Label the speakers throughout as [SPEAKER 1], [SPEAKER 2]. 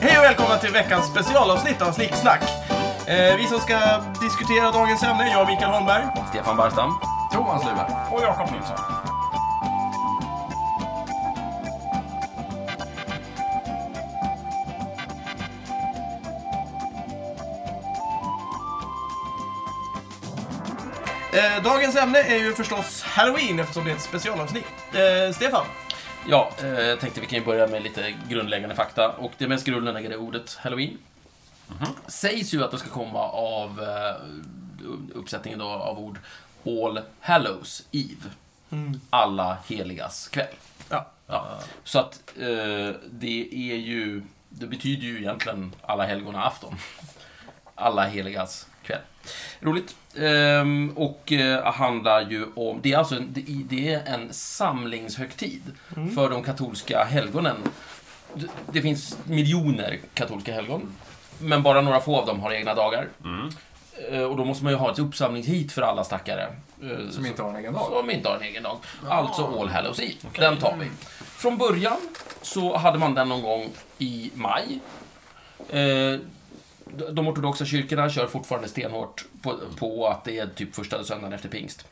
[SPEAKER 1] Hej och välkomna till veckans specialavsnitt av Snicksnack. Eh, vi som ska diskutera dagens ämne, jag Mikael Holmberg.
[SPEAKER 2] Stefan Barstam.
[SPEAKER 3] Thomas Luberg.
[SPEAKER 1] Och Jakob Nilsson. Eh, Dagens ämne är ju förstås Halloween eftersom det är ett specialavsnitt. Eh, Stefan,
[SPEAKER 2] Ja, eh, jag tänkte vi kan ju börja med lite grundläggande fakta. Och det mest grundläggande är ordet halloween. Sägs ju att det ska komma av eh, uppsättningen då av ord All Hallows Eve. Alla heligas kväll.
[SPEAKER 1] ja,
[SPEAKER 2] Ja. Så att eh, det är ju, det betyder ju egentligen alla helgona afton. Alla heligas kväll. Roligt. Ehm, och eh, handlar ju om, det är alltså en, det- det är en samlingshögtid
[SPEAKER 3] Mm.
[SPEAKER 2] för de katolska helgonen. Det, det finns miljoner katolska helgon, men bara några få av dem har egna dagar.
[SPEAKER 3] Mm.
[SPEAKER 2] Eh, och då måste man ju ha ett uppsamlingshit för alla stackare. Eh,
[SPEAKER 3] Som
[SPEAKER 2] så-
[SPEAKER 3] inte har en egen dag.
[SPEAKER 2] som inte har en egen dag. Alltså All Hallows Eve. Den tar vi.
[SPEAKER 3] Mm.
[SPEAKER 2] Från början så hade man den någon gång i maj. Eh, de ortodoxa kyrkorna kör fortfarande stenhårt på, på att det är typ första söndagen efter pingst.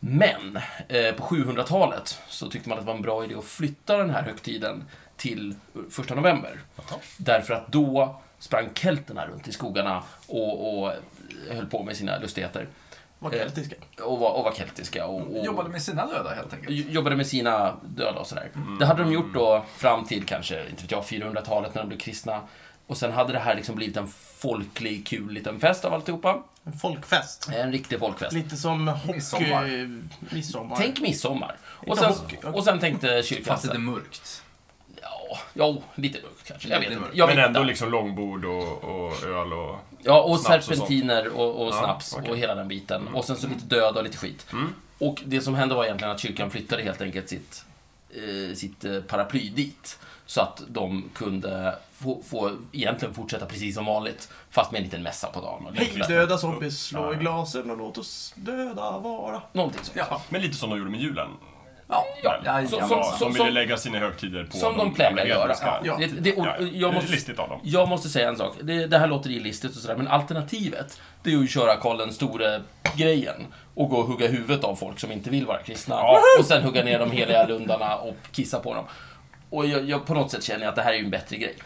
[SPEAKER 2] Men eh, på 700-talet så tyckte man att det var en bra idé att flytta den här högtiden till första november. Därför att då sprang kelterna runt i skogarna och, och höll på med sina lustigheter Eh,
[SPEAKER 1] var keltiska.
[SPEAKER 2] och var, och var keltiska och, och
[SPEAKER 3] Jobbade med sina döda helt enkelt.
[SPEAKER 2] j- jobbade med sina döda och sådär. Det hade de gjort då fram till kanske, inte vet jag, 400-talet när de blev kristna. Och sen hade det här liksom blivit en folklig, kul liten fest av alltihopa.
[SPEAKER 1] En folkfest.
[SPEAKER 2] En riktig folkfest.
[SPEAKER 1] Lite som hockey...
[SPEAKER 3] Midsommar.
[SPEAKER 1] Midsommar.
[SPEAKER 2] Tänk midsommar. Och
[SPEAKER 1] Inte
[SPEAKER 2] sen,
[SPEAKER 1] hockey.
[SPEAKER 2] och sen tänkte kyrkan...
[SPEAKER 3] Fast det är mörkt.
[SPEAKER 2] Ja, jo, lite mörkt kanske. Jag vet
[SPEAKER 3] Lite
[SPEAKER 2] inte.
[SPEAKER 3] mörkt.
[SPEAKER 2] Jag vet
[SPEAKER 4] Men ändå
[SPEAKER 2] inte.
[SPEAKER 4] liksom långbord och, och öl och...
[SPEAKER 2] Ja, och
[SPEAKER 4] Snaps och
[SPEAKER 2] serpentiner och, och
[SPEAKER 4] Ja,
[SPEAKER 2] snaps
[SPEAKER 4] okej. Mm.
[SPEAKER 2] och hela den biten. Och sen så lite död och lite skit. Och det som hände var egentligen att kyrkan flyttade helt enkelt sitt, eh, sitt eh, paraply dit. Så att de kunde få, få egentligen fortsätta precis som vanligt, fast med en liten mässa på dagen. och
[SPEAKER 1] Hej
[SPEAKER 2] liknande.
[SPEAKER 1] döda zombies, slå i glasen och låt oss döda vara.
[SPEAKER 2] Någonting sånt.
[SPEAKER 3] Ja.
[SPEAKER 4] Men lite som de gjorde med julen.
[SPEAKER 3] Ja.
[SPEAKER 2] Ja,
[SPEAKER 3] Ja,
[SPEAKER 2] så-
[SPEAKER 3] ja,
[SPEAKER 2] så-
[SPEAKER 4] Ja,
[SPEAKER 2] så-
[SPEAKER 4] de
[SPEAKER 2] som-
[SPEAKER 4] ville lägga sina högtider på
[SPEAKER 2] Som de
[SPEAKER 4] gamla
[SPEAKER 2] plägar göra.
[SPEAKER 4] hedniska.
[SPEAKER 1] Ja.
[SPEAKER 2] Det, det, och,
[SPEAKER 4] Ja, ja.
[SPEAKER 2] jag, måste,
[SPEAKER 4] Listigt av dem.
[SPEAKER 2] jag måste säga en sak. Det, det här låter ju listigt och sådär, men alternativet, det är ju att köra Karl den store-grejen och gå och hugga huvudet av folk som inte vill vara kristna. Och sen hugga ner de heliga lundarna och kissa på dem. Och jag, jag, på något sätt känner jag att det här är ju en bättre grej.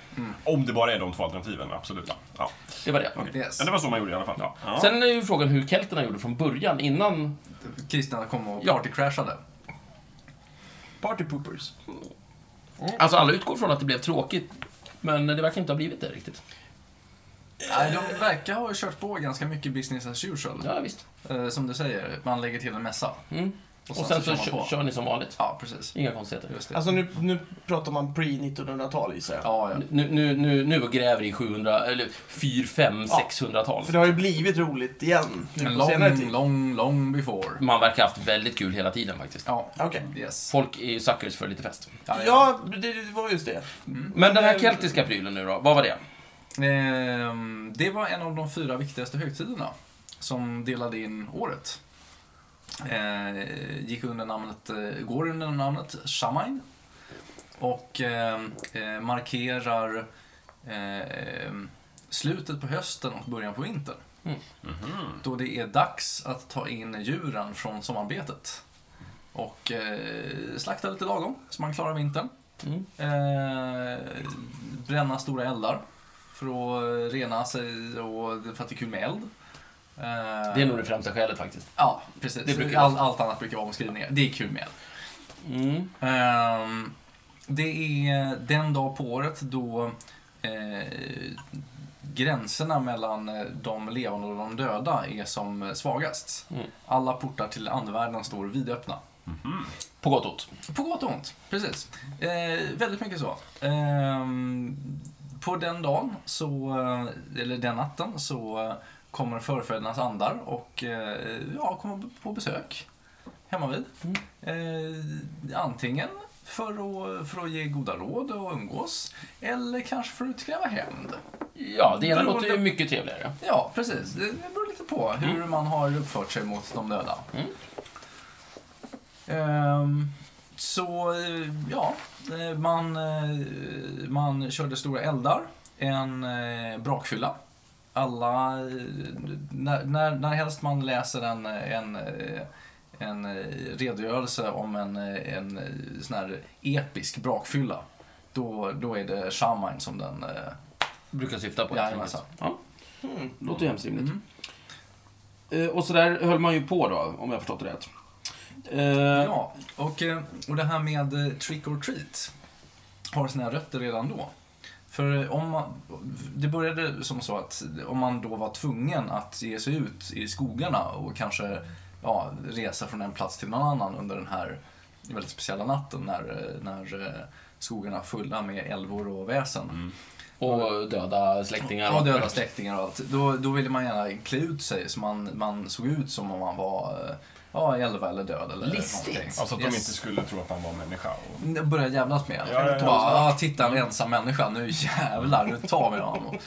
[SPEAKER 4] Om det bara är de två alternativen, absolut. Ja.
[SPEAKER 2] Det var det.
[SPEAKER 3] Yes.
[SPEAKER 4] Men det var så man gjorde i alla fall. Ja.
[SPEAKER 2] Sen är ju frågan hur kelterna gjorde från början, innan...
[SPEAKER 3] Kristna kom och
[SPEAKER 2] Ja.
[SPEAKER 3] partycrashade.
[SPEAKER 1] Party poopers.
[SPEAKER 2] Alltså alla utgår från att det blev tråkigt, men det verkar inte ha blivit det riktigt.
[SPEAKER 3] Nej, de verkar ha kört på ganska mycket business as usual.
[SPEAKER 2] Ja, visst. Mm.
[SPEAKER 3] Eh, Som du säger, man lägger till en mässa.
[SPEAKER 2] Och, sen så,
[SPEAKER 3] kör man
[SPEAKER 2] kö-
[SPEAKER 3] på.
[SPEAKER 2] kör ni som vanligt.
[SPEAKER 3] Ja, precis.
[SPEAKER 2] Inga konstigheter.
[SPEAKER 3] Just det.
[SPEAKER 1] Alltså nu, nu pratar man pre-1900-tal gissar jag.
[SPEAKER 3] ja, ja.
[SPEAKER 2] Nu, nu, nu, nu gräver i 700, eller 4, 5, 600-tal.
[SPEAKER 1] För det har ju blivit roligt igen nu
[SPEAKER 3] En
[SPEAKER 1] på senare
[SPEAKER 3] lång,
[SPEAKER 1] tid.
[SPEAKER 3] lång, lång before.
[SPEAKER 2] Man verkar ha haft väldigt kul hela tiden faktiskt.
[SPEAKER 3] Ja.
[SPEAKER 1] Okej.
[SPEAKER 3] Yes.
[SPEAKER 2] Folk är ju suckers för lite fest.
[SPEAKER 1] Ja, det, det var just det.
[SPEAKER 2] Men
[SPEAKER 3] Mm.
[SPEAKER 2] den här keltiska prylen nu då, vad var det?
[SPEAKER 3] Ehm, Det var en av de fyra viktigaste högtiderna som delade in året. Eh, Gick under namnet, eh, går under namnet Shamain och eh, eh, markerar eh, slutet på hösten och början på vintern.
[SPEAKER 2] Mm.
[SPEAKER 3] Då det är dags att ta in djuren från sommarbetet och eh, slakta lite lagom så man klarar vintern.
[SPEAKER 2] Mm.
[SPEAKER 3] Eh, bränna stora eldar för att rena sig och för att det är kul med eld. Eh,
[SPEAKER 2] Det är nog det främsta skälet faktiskt.
[SPEAKER 3] Ja, precis.
[SPEAKER 2] Det brukar
[SPEAKER 3] All, allt annat brukar vara omskrivningar. Det är kul med eld.
[SPEAKER 2] Mm.
[SPEAKER 3] Ehm, det är den dag på året då eh, gränserna mellan eh, de levande och de döda är som svagast.
[SPEAKER 2] Mm.
[SPEAKER 3] Alla portar till andevärlden står vidöppna.
[SPEAKER 2] På gott och ont.
[SPEAKER 3] På gott och ont, precis. Eh, väldigt mycket så. Ehm, på den dagen, så, eh, eller den natten, så eh, kommer förfädernas andar och eh, ja, kommer på besök hemma vid. Eh, antingen för att, för att ge goda råd och umgås, eller kanske för att utkräva hämnd.
[SPEAKER 2] Ja, det ena
[SPEAKER 1] Beroende-
[SPEAKER 2] låter ju mycket trevligare.
[SPEAKER 3] Ja, precis. Det det beror lite på hur man har uppfört sig mot de döda.
[SPEAKER 2] Mm.
[SPEAKER 3] Ehm, Så eh, ja, eh, man, eh, man körde stora eldar, en eh, brakfylla. Alla, eh, när, när, när helst man läser en, eh, en, eh, en eh, redogörelse om en, eh, en eh, sån här episk brakfylla, då, då är det shaman som den... eh,
[SPEAKER 2] Brukar syfta på.
[SPEAKER 3] Jajamensan.
[SPEAKER 2] Ja. Låter ju hemskt rimligt. Eh, Och så där höll man ju på då, om jag har förstått det rätt. Eh,
[SPEAKER 3] Ja, och, eh, och det här med eh, trick or treat har sina rötter redan då. För eh, om man, det började som så att om man då var tvungen att ge sig ut i skogarna och kanske ja, resa från en plats till någon annan under den här väldigt speciella natten när, eh, när eh, skogarna är fulla med älvor och väsen.
[SPEAKER 2] Och döda släktingar.
[SPEAKER 3] Ja, döda släktingar och allt. Då, då ville man gärna klä ut sig så man, man såg ut som om man var eh, ja, elva eller död eller
[SPEAKER 2] Listigt.
[SPEAKER 3] någonting.
[SPEAKER 4] Alltså att de
[SPEAKER 3] Yes.
[SPEAKER 4] inte skulle tro att man var människa. Och...
[SPEAKER 3] Jag börjar jävlas med
[SPEAKER 4] Ja, ja, ja.
[SPEAKER 3] honom. Bara, "Ah, titta en ensam människa, nu jävlar, nu tar vi honom.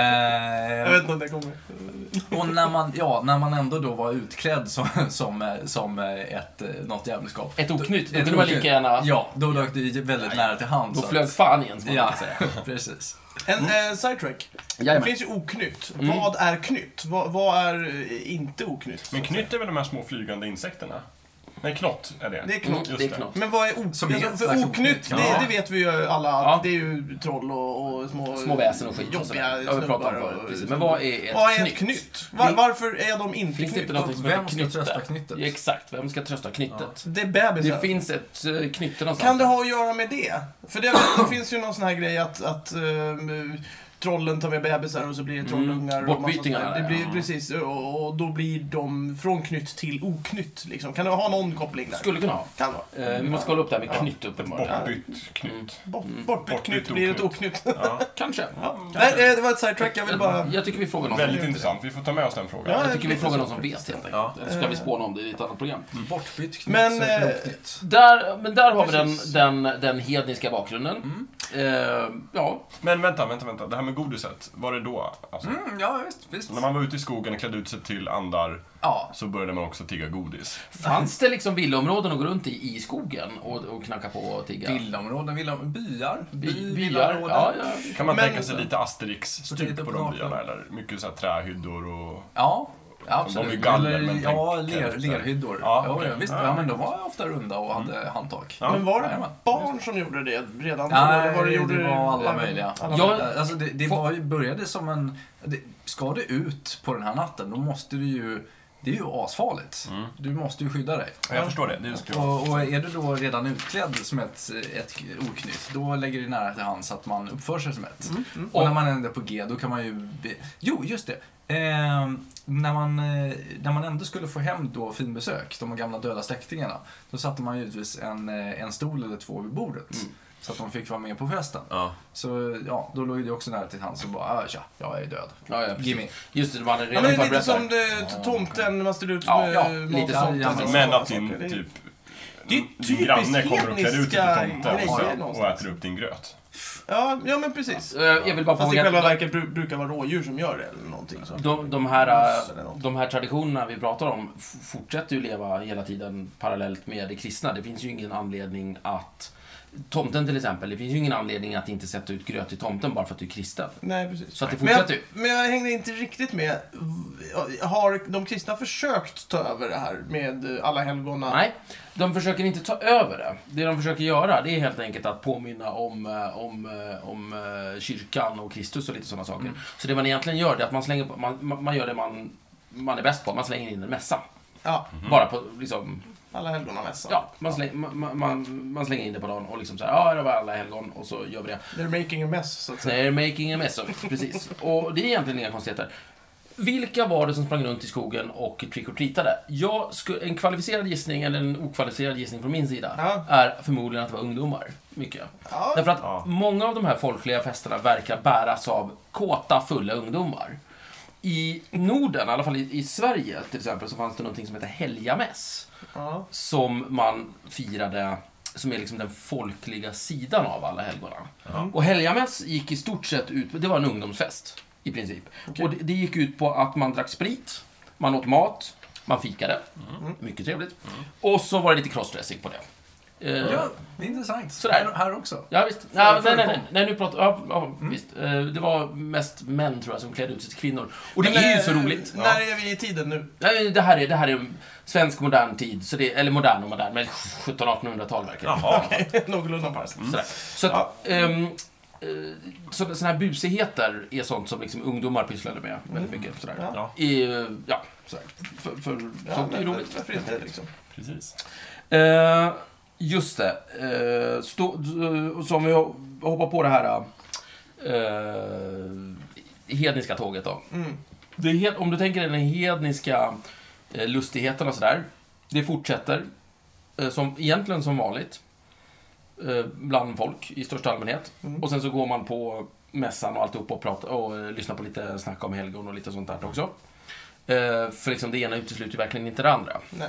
[SPEAKER 1] Jag
[SPEAKER 3] Eh,
[SPEAKER 1] vet inte om det kommer.
[SPEAKER 3] och när man, ja, när man ändå då var utklädd som, som, eh, som eh, ett, eh, något jävelskap.
[SPEAKER 2] Ett oknytt, då
[SPEAKER 3] Ett
[SPEAKER 2] kunde man
[SPEAKER 3] oknytt.
[SPEAKER 2] lika gärna...
[SPEAKER 3] Ja, då dök det ju väldigt nära till hands.
[SPEAKER 2] Då
[SPEAKER 3] så
[SPEAKER 2] flög
[SPEAKER 3] att-
[SPEAKER 2] fan i en som man
[SPEAKER 3] Ja,
[SPEAKER 2] brukar säga.
[SPEAKER 3] precis.
[SPEAKER 1] En eh, sidetrack. Det
[SPEAKER 2] Mm. Jajamän. Mm.
[SPEAKER 1] finns ju oknytt. Vad är knytt? Vad, vad är eh, inte oknytt?
[SPEAKER 4] Men knytt är väl de här små flygande insekterna? Nej, knott är det.
[SPEAKER 1] Det är knott.
[SPEAKER 4] Just
[SPEAKER 2] Det är
[SPEAKER 4] det.
[SPEAKER 2] knott.
[SPEAKER 1] Men vad är oknytt?
[SPEAKER 3] Som är ett
[SPEAKER 1] Alltså,
[SPEAKER 3] slags
[SPEAKER 1] för oknytt,
[SPEAKER 3] oknytt,
[SPEAKER 1] det,
[SPEAKER 3] ja.
[SPEAKER 1] det vet vi ju alla. att
[SPEAKER 2] Ja.
[SPEAKER 1] Det är ju troll och, och små,
[SPEAKER 2] Små väsen och skit och
[SPEAKER 1] jobbiga
[SPEAKER 2] sådär. Ja, vi pratade om
[SPEAKER 1] snubbar
[SPEAKER 2] förut.
[SPEAKER 1] och-
[SPEAKER 2] Precis. Men vad är ett
[SPEAKER 1] Vad är ett
[SPEAKER 2] knytt?
[SPEAKER 1] knytt? Var, varför är de inte
[SPEAKER 2] Finns det
[SPEAKER 1] knytt?
[SPEAKER 2] inte någonting som
[SPEAKER 3] Vem
[SPEAKER 2] heter
[SPEAKER 3] ska
[SPEAKER 2] knytte?
[SPEAKER 3] trösta knyttet?
[SPEAKER 2] Ja, Exakt, vem ska trösta knyttet?
[SPEAKER 1] Det är bebisar.
[SPEAKER 2] Det finns ett eh, knytte någonstans.
[SPEAKER 1] Kan det ha att göra med det? För det, det finns ju någon sån här grej att, att ehm, trollen tar med bebisar och så blir det trollungar. och massa
[SPEAKER 2] Bortbytingar,
[SPEAKER 1] sånt där. Det
[SPEAKER 2] ja.
[SPEAKER 1] blir, Precis, och, och då blir de från knytt till oknytt. Liksom. Kan det ha någon koppling där?
[SPEAKER 2] Skulle kunna ha.
[SPEAKER 1] Kan vara.
[SPEAKER 2] Eh, vi måste kolla upp det här med knytte uppenbarligen.
[SPEAKER 4] Bortbytt
[SPEAKER 2] Mm.
[SPEAKER 4] knytt.
[SPEAKER 1] Bort, bortbytt
[SPEAKER 4] Bortbytt
[SPEAKER 1] knytt blir ett
[SPEAKER 4] oknytt.
[SPEAKER 1] oknytt.
[SPEAKER 4] Ja.
[SPEAKER 2] Kanske.
[SPEAKER 1] Nej, eh, det var ett sidetrack. Jag ville bara...
[SPEAKER 2] Jag tycker vi frågar någon.
[SPEAKER 4] Väldigt
[SPEAKER 2] som-
[SPEAKER 4] intressant. Vi får ta med oss den frågan.
[SPEAKER 1] Ja,
[SPEAKER 2] Jag tycker vi
[SPEAKER 1] lite
[SPEAKER 2] frågar
[SPEAKER 1] så
[SPEAKER 2] någon som vet helt enkelt. Eh, Så ska
[SPEAKER 1] Eh.
[SPEAKER 2] vi spåna om det i ett annat program.
[SPEAKER 3] Bortbytt knytt,
[SPEAKER 1] Men,
[SPEAKER 3] så är
[SPEAKER 1] eh,
[SPEAKER 3] det uppknytt.
[SPEAKER 2] Där, men där har vi
[SPEAKER 1] Precis.
[SPEAKER 2] den, den, den hedniska bakgrunden. Eh, ja,
[SPEAKER 4] Men vänta, vänta, vänta. Det här med godiset, var det då? Alltså,
[SPEAKER 3] Mm, ja, visst. visst.
[SPEAKER 4] När man var ute i skogen och klädde ut sig till andar
[SPEAKER 3] Ja,
[SPEAKER 4] så började man också tigga godis.
[SPEAKER 2] Fanns det liksom villaområden att gå runt i, i skogen och, och knacka på och tigga?
[SPEAKER 3] villaområden, villaområden, byar. By,
[SPEAKER 2] By, byar? Ja, ja.
[SPEAKER 4] Kan man
[SPEAKER 1] Men-
[SPEAKER 4] tänka
[SPEAKER 3] Så
[SPEAKER 4] sig lite
[SPEAKER 3] det är lite
[SPEAKER 4] Asterix-stuk på de
[SPEAKER 3] bra.
[SPEAKER 4] byarna? Eller mycket så här trähyddor och...
[SPEAKER 3] Ja, absolut.
[SPEAKER 4] De är ju galler,
[SPEAKER 3] Eller-
[SPEAKER 4] men
[SPEAKER 3] ja,
[SPEAKER 4] tänk
[SPEAKER 3] ler,
[SPEAKER 4] kläder.
[SPEAKER 3] lerhyddor.
[SPEAKER 4] Ja,
[SPEAKER 3] Ja,
[SPEAKER 4] okej.
[SPEAKER 3] ja, visst. Ja, men de var ofta runda och hade handtak.
[SPEAKER 4] Ja.
[SPEAKER 1] Men var det
[SPEAKER 3] Jajamän.
[SPEAKER 1] barn som gjorde det redan då?
[SPEAKER 3] Nej,
[SPEAKER 1] eller var
[SPEAKER 3] det,
[SPEAKER 1] gjorde
[SPEAKER 3] var alla
[SPEAKER 1] även-
[SPEAKER 3] möjliga.
[SPEAKER 1] alla
[SPEAKER 2] Ja.
[SPEAKER 1] möjliga.
[SPEAKER 3] Alltså det det
[SPEAKER 2] Få-
[SPEAKER 3] var ju, började som en... Det, ska du ut på den här natten, då måste du ju... Det är ju asfarligt.
[SPEAKER 4] Mm.
[SPEAKER 3] Du måste ju skydda dig.
[SPEAKER 4] Ja, Jag förstår det. Det är just det.
[SPEAKER 3] Och, och är du då redan utklädd som ett, ett oknytt, då lägger det nära till hands att man uppför sig som ett.
[SPEAKER 2] Mm,
[SPEAKER 3] Och när man ändå är på G, då kan man ju... Be... Jo, just det. Ehm, när, man, eh, när man ändå skulle få hem då finbesök, de gamla döda släktingarna, då satte man givetvis en, eh, en stol eller två vid bordet.
[SPEAKER 2] Mm.
[SPEAKER 3] Så att de fick vara med på festen.
[SPEAKER 4] Ja.
[SPEAKER 3] Så ja, då låg det också nära till hands och bara ah, tja, jag är död.
[SPEAKER 2] ja, ja
[SPEAKER 3] Gimme.
[SPEAKER 2] precis. Just det, de hade
[SPEAKER 1] Ja,
[SPEAKER 2] redan
[SPEAKER 1] men det är lite
[SPEAKER 2] förberett
[SPEAKER 1] som
[SPEAKER 2] det.
[SPEAKER 1] det, tomten man ställer ut
[SPEAKER 2] Ja,
[SPEAKER 1] med
[SPEAKER 3] ja,
[SPEAKER 1] mat.
[SPEAKER 2] lite sånt.
[SPEAKER 1] Ja,
[SPEAKER 3] Alltså,
[SPEAKER 4] Men att
[SPEAKER 1] sådana
[SPEAKER 4] din
[SPEAKER 1] saker.
[SPEAKER 4] typ...
[SPEAKER 1] Det är
[SPEAKER 4] Din
[SPEAKER 1] typiskt
[SPEAKER 4] granne kommer och klär ut sig
[SPEAKER 1] hedniska
[SPEAKER 4] till tomte och,
[SPEAKER 1] grejer
[SPEAKER 4] sen, och
[SPEAKER 1] någonstans.
[SPEAKER 4] äter upp din gröt.
[SPEAKER 1] Ja, ja men precis.
[SPEAKER 2] Eh, Jag vill bara
[SPEAKER 1] Fast i
[SPEAKER 2] fråga,
[SPEAKER 1] själva
[SPEAKER 2] de,
[SPEAKER 1] verket bru- brukar vara rådjur som gör det eller någonting sånt.
[SPEAKER 2] de, de, här,
[SPEAKER 1] Eller
[SPEAKER 2] eh,
[SPEAKER 1] något.
[SPEAKER 2] de här traditionerna vi pratar om f- fortsätter ju leva hela tiden parallellt med det kristna. Det finns ju ingen anledning att Tomten till exempel, det finns ju ingen anledning att inte sätta ut gröt till tomten bara för att du är kristen.
[SPEAKER 1] Nej, precis.
[SPEAKER 2] Så att det
[SPEAKER 1] Men jag,
[SPEAKER 2] fortsätter ju.
[SPEAKER 1] men jag hängde inte riktigt med. Har de kristna försökt ta över det här med alla helgona?
[SPEAKER 2] Nej, de försöker inte ta över det. Det de försöker göra det är helt enkelt att påminna om, eh, om, eh, om eh, kyrkan och Kristus och lite sådana saker.
[SPEAKER 1] Mm.
[SPEAKER 2] Så det man egentligen gör det är att man, slänger på, man, man man gör det man, man är bäst på, man slänger in en mässa.
[SPEAKER 1] Ja,
[SPEAKER 2] Bara på, liksom,
[SPEAKER 1] alla helgonamässan.
[SPEAKER 2] ja, man, släng, man, man- man, man slänger in det på dagen och liksom så här, ja, det var alla helgon och så gör vi det.
[SPEAKER 1] They're making a mess, så att säga.
[SPEAKER 2] They're making a mess of it, precis. Och det är egentligen inga konstigheter. Vilka var det som sprang runt i skogen och trick or treatade? Jag sku- en kvalificerad gissning, eller en okvalificerad gissning från min sida,
[SPEAKER 1] Ja.
[SPEAKER 2] är förmodligen att det var ungdomar. Mycket.
[SPEAKER 1] Ja.
[SPEAKER 2] Därför att
[SPEAKER 4] Ja.
[SPEAKER 2] många av de här folkliga festerna verkar bäras av kåta, fulla ungdomar. I Norden, i alla fall i, i Sverige till exempel, så fanns det någonting som hette helgamäss
[SPEAKER 1] Ja.
[SPEAKER 2] som man firade som är liksom den folkliga sidan av alla helgona. Och helgamäss gick i stort sett ut på, det var en ungdomsfest i princip. Och det, det gick ut på att man drack sprit, man åt mat, man fikade, mycket trevligt. Och så var det lite crossdressing på det. Eh,
[SPEAKER 3] Ja, det är intressant.
[SPEAKER 2] Sådär.
[SPEAKER 3] Här, här också.
[SPEAKER 2] Ja, visst. Ja, nej,
[SPEAKER 3] förekom.
[SPEAKER 2] nej, nej, nej, nu pratar ja, ja, visst. Eh, Det var mest män, tror jag, som klädde ut sig till kvinnor. Och det
[SPEAKER 1] Men,
[SPEAKER 2] är ju
[SPEAKER 1] eh,
[SPEAKER 2] så roligt.
[SPEAKER 1] När är vi i tiden nu?
[SPEAKER 2] Nej, det här är, det här är en svensk modern tid, så det, eller modern och modern, men 1700-1800-tal verkar det.
[SPEAKER 4] Jaha.
[SPEAKER 1] Någorlunda pass.
[SPEAKER 2] Sådär. Mm. Så att, ehm, eh, så, såna här busigheter är sånt som liksom ungdomar pysslade med
[SPEAKER 1] Mm.
[SPEAKER 2] väldigt mycket. Sådär.
[SPEAKER 1] Ja.
[SPEAKER 4] Ja,
[SPEAKER 2] I, eh, ja, sådär. För, för,
[SPEAKER 1] Ja,
[SPEAKER 2] sånt är ju
[SPEAKER 1] men,
[SPEAKER 2] roligt.
[SPEAKER 1] varför inte liksom?
[SPEAKER 4] precis.
[SPEAKER 2] Eh, just det. Eh, stå, eh, som vi hoppar på det här eh, hedniska tåget då.
[SPEAKER 1] Mm.
[SPEAKER 2] Det är, helt- om du tänker dig den hedniska eh, lustigheten och sådär. Det fortsätter. Eh, som, egentligen som vanligt. Eh, bland folk i största allmänhet. Och sen så går man på mässan och alltihop och, pratar, och eh, lyssnar på lite snack om helgon och lite sånt där också. Eh, för liksom det ena utesluter ju verkligen inte det andra.
[SPEAKER 1] Nej.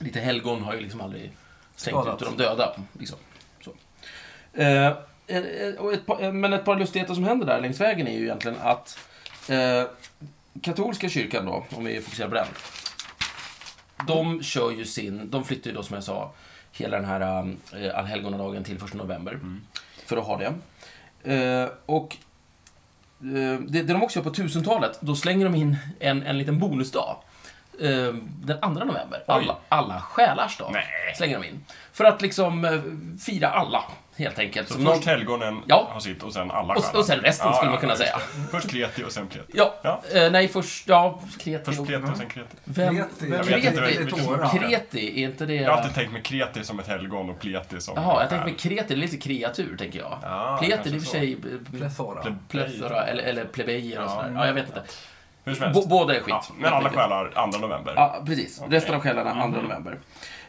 [SPEAKER 2] Lite helgon har ju liksom aldrig slängt
[SPEAKER 3] Skadat.
[SPEAKER 2] ut de döda. Liksom. Så. Eh, eh, och ett par, eh, men ett par lustigheter som händer där längs vägen är ju egentligen att eh, katolska kyrkan då, om vi fokuserar på den. De kör ju sin, de flyttar ju då som jag sa hela den här eh, allhelgonadagen till 1 november.
[SPEAKER 4] Mm.
[SPEAKER 2] För att ha det. Eh, och eh, det, det de också gör på 1000-talet, då slänger de in en, en liten bonusdag. Eh, den 2 november. Alla, alla själars dag
[SPEAKER 4] Nej.
[SPEAKER 2] slänger de in. För att liksom eh, fira alla, helt enkelt.
[SPEAKER 4] Så
[SPEAKER 2] Som någon-
[SPEAKER 4] först helgonen
[SPEAKER 2] Ja.
[SPEAKER 4] har sitt och sen alla
[SPEAKER 2] och, och sen resten
[SPEAKER 4] Ja,
[SPEAKER 2] skulle
[SPEAKER 4] ja,
[SPEAKER 2] man kunna
[SPEAKER 4] just
[SPEAKER 2] säga.
[SPEAKER 4] det. Först kreti och sen pleti.
[SPEAKER 2] Ja,
[SPEAKER 4] Ja.
[SPEAKER 2] Eh, nej först, ja, kreti.
[SPEAKER 4] Först pleti och sen kreti.
[SPEAKER 2] Vem?
[SPEAKER 4] Jag vet inte
[SPEAKER 2] Kreti.
[SPEAKER 4] vilken-
[SPEAKER 2] Kreti, är inte det...
[SPEAKER 4] Jag har alltid tänkt med kreti som ett helgon och pleti som...
[SPEAKER 2] Jaha, jag tänkte med kreti, det är lite kreatur, tänker jag.
[SPEAKER 4] Ja,
[SPEAKER 2] Pleti, det är
[SPEAKER 4] kanske
[SPEAKER 2] i och för
[SPEAKER 4] så.
[SPEAKER 2] sig eh,
[SPEAKER 3] Plethora.
[SPEAKER 2] plethora, eller, eller plebejer och
[SPEAKER 4] Ja.
[SPEAKER 2] sådär. Ja, jag vet inte.
[SPEAKER 4] Hur som helst.
[SPEAKER 2] Bå- båda är skit.
[SPEAKER 4] Ja, men alla
[SPEAKER 2] Helt enkelt.
[SPEAKER 4] själar 2 november.
[SPEAKER 2] Ja, precis.
[SPEAKER 4] Okej. Mm.
[SPEAKER 2] Resten av själarna 2 november.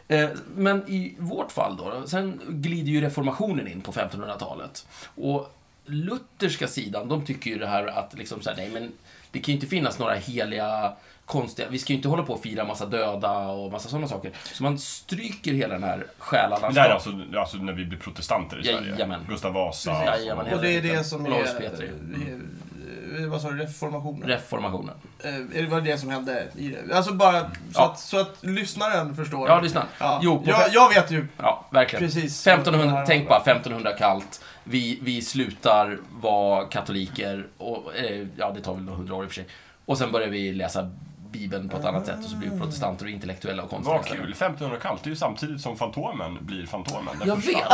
[SPEAKER 2] Eh, Men i vårt fall då, sen glider ju reformationen in på 1500-talet. Och lutherska sidan, de tycker ju det här att liksom så här, nej men det kan ju inte finnas några heliga konstiga, vi ska ju inte hålla på och fira massa döda och massa sådana saker. Så man stryker hela den här
[SPEAKER 4] Det här är
[SPEAKER 2] själalandskapet.
[SPEAKER 4] alltså, alltså när vi blir protestanter i Sverige.
[SPEAKER 2] Jajamän.
[SPEAKER 4] Gustav Vasa.
[SPEAKER 1] Precis.
[SPEAKER 2] Jajamän,
[SPEAKER 1] Och det är det
[SPEAKER 2] helt
[SPEAKER 1] som
[SPEAKER 2] enkelt.
[SPEAKER 1] är...
[SPEAKER 2] Olaus Petri. Mm.
[SPEAKER 1] eh, Vad sa du? Reformationen?
[SPEAKER 2] Reformationen.
[SPEAKER 1] Eh, Är det var det som hände i det? Alltså bara så,
[SPEAKER 2] Ja.
[SPEAKER 1] att, så att lyssnaren förstår.
[SPEAKER 2] Ja, lyssna.
[SPEAKER 1] Ja.
[SPEAKER 2] Jo, på
[SPEAKER 1] jag, jag vet ju
[SPEAKER 2] Ja, verkligen.
[SPEAKER 1] precis.
[SPEAKER 2] 1500, tänk bara 1500 kallt. Vi, vi slutar vara katoliker, och, eh, ja det tar väl några hundra år i och för sig. Och sen börjar vi läsa Bibeln på ett annat sätt och så blir vi protestanter och intellektuella och konstiga.
[SPEAKER 4] Vad kul, 1500 kallt. Det är ju samtidigt som Fantomen blir Fantomen. Den
[SPEAKER 2] Jag
[SPEAKER 4] första.
[SPEAKER 2] vet!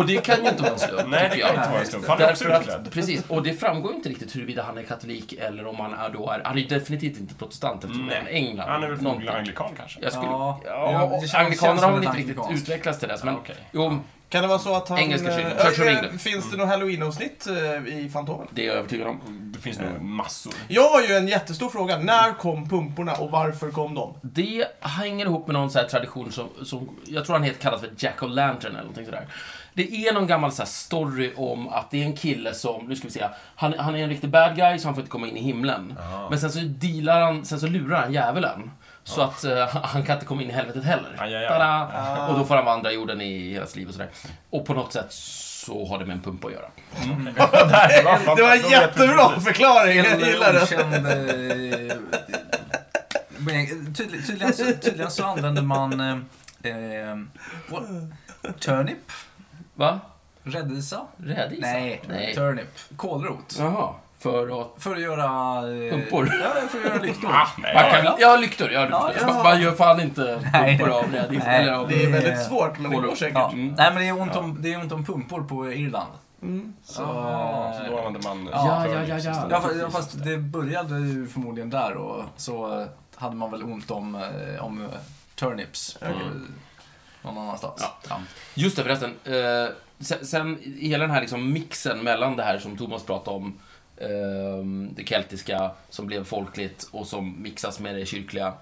[SPEAKER 2] Och det kan ju inte vara en slump,
[SPEAKER 4] Nej, det
[SPEAKER 2] tycker
[SPEAKER 4] kan
[SPEAKER 2] jag.
[SPEAKER 4] inte vara en slump. Han är också
[SPEAKER 2] Därför
[SPEAKER 4] utklädd.
[SPEAKER 2] att, precis, och det framgår ju inte riktigt huruvida han är katolik eller om han är då är... Han är ju definitivt inte protestant eftersom han är från England.
[SPEAKER 4] Han är väl
[SPEAKER 2] någonting.
[SPEAKER 4] förmodligen anglikan kanske.
[SPEAKER 2] Jag skulle...
[SPEAKER 3] Ja,
[SPEAKER 2] Ja,
[SPEAKER 3] ja, det känns- känns
[SPEAKER 2] anglikanerna
[SPEAKER 3] som
[SPEAKER 2] har väl
[SPEAKER 3] ett
[SPEAKER 2] inte riktigt
[SPEAKER 3] anglikanskt.
[SPEAKER 2] utvecklats till dess, men...
[SPEAKER 4] okej.
[SPEAKER 2] Jo,
[SPEAKER 1] Kan det vara så att han...
[SPEAKER 2] Engelska kyrkan.
[SPEAKER 1] eh,
[SPEAKER 2] Church of
[SPEAKER 1] eh,
[SPEAKER 2] England.
[SPEAKER 1] Finns det något halloween-avsnitt eh, i Fantomen?
[SPEAKER 2] det är jag övertygad om.
[SPEAKER 4] Det finns
[SPEAKER 1] Eh.
[SPEAKER 4] nog massor.
[SPEAKER 1] Jag har ju en jättestor fråga. När kom pumporna och varför kom de?
[SPEAKER 2] Det hänger ihop med någon så här tradition som, som jag tror han heter kallas för Jack o' Lantern eller någonting sådär. Det är någon gammal så här story om att det är en kille som, nu ska vi se, han, han är en riktig bad guy så han får inte komma in i himlen. Men sen så dealar han, sen så lurar han djävulen. Så att eh, han kan inte komma in i helvetet heller.
[SPEAKER 4] Aj, Ah. aj, aj.
[SPEAKER 2] Tada! Och då får han vandra jorden i hela sitt liv och sådär. Och på något sätt så har det med en pumpa att göra.
[SPEAKER 4] Där, vad fan,
[SPEAKER 1] Det var
[SPEAKER 4] då
[SPEAKER 1] en
[SPEAKER 4] vet vi
[SPEAKER 1] jättebra
[SPEAKER 4] precis.
[SPEAKER 1] förklaring. Jag gillar
[SPEAKER 3] Eller
[SPEAKER 1] det.
[SPEAKER 3] okänd... eh, men Tydligen, tydligen, så, tydligen så använder man eh, eh, what? turnip,
[SPEAKER 2] Va?
[SPEAKER 3] rädisa?
[SPEAKER 2] Rädisa?
[SPEAKER 3] Nej,
[SPEAKER 2] Nej.
[SPEAKER 3] turnip, kålrot.
[SPEAKER 2] Jaha. För att...
[SPEAKER 3] För att göra... eh,
[SPEAKER 2] Pumpor.
[SPEAKER 3] Ja, för att göra lyktor.
[SPEAKER 4] Ah, nej,
[SPEAKER 2] Man kan,
[SPEAKER 4] ja.
[SPEAKER 2] ja, ja, lyktor. Ja, du
[SPEAKER 3] Ja,
[SPEAKER 2] förstår.
[SPEAKER 3] ja.
[SPEAKER 2] Man- Man gör fan inte
[SPEAKER 3] Nej.
[SPEAKER 2] pumpor av rädis.
[SPEAKER 3] Nej.
[SPEAKER 2] Eller av...
[SPEAKER 1] Det är
[SPEAKER 3] Eh,
[SPEAKER 1] väldigt svårt, men det går
[SPEAKER 3] Ja.
[SPEAKER 1] säkert.
[SPEAKER 2] Mm.
[SPEAKER 3] Nej, men det är ont om, det är ont om pumpor på Irland.
[SPEAKER 1] Mm.
[SPEAKER 3] Så,
[SPEAKER 4] Ah, Så då
[SPEAKER 3] eh,
[SPEAKER 4] använder man...
[SPEAKER 2] Ja, ja, ja, ja.
[SPEAKER 3] ja, fa- ja, fast det började ju förmodligen där och så eh, hade man väl ont om, eh, om eh, turnips på, någon annanstans.
[SPEAKER 2] Ja.
[SPEAKER 3] Ja.
[SPEAKER 2] Just det, förresten. Eh, sen, sen hela den här liksom mixen mellan det här som Thomas pratade om, ehm, det keltiska som blev folkligt och som mixas med det kyrkliga.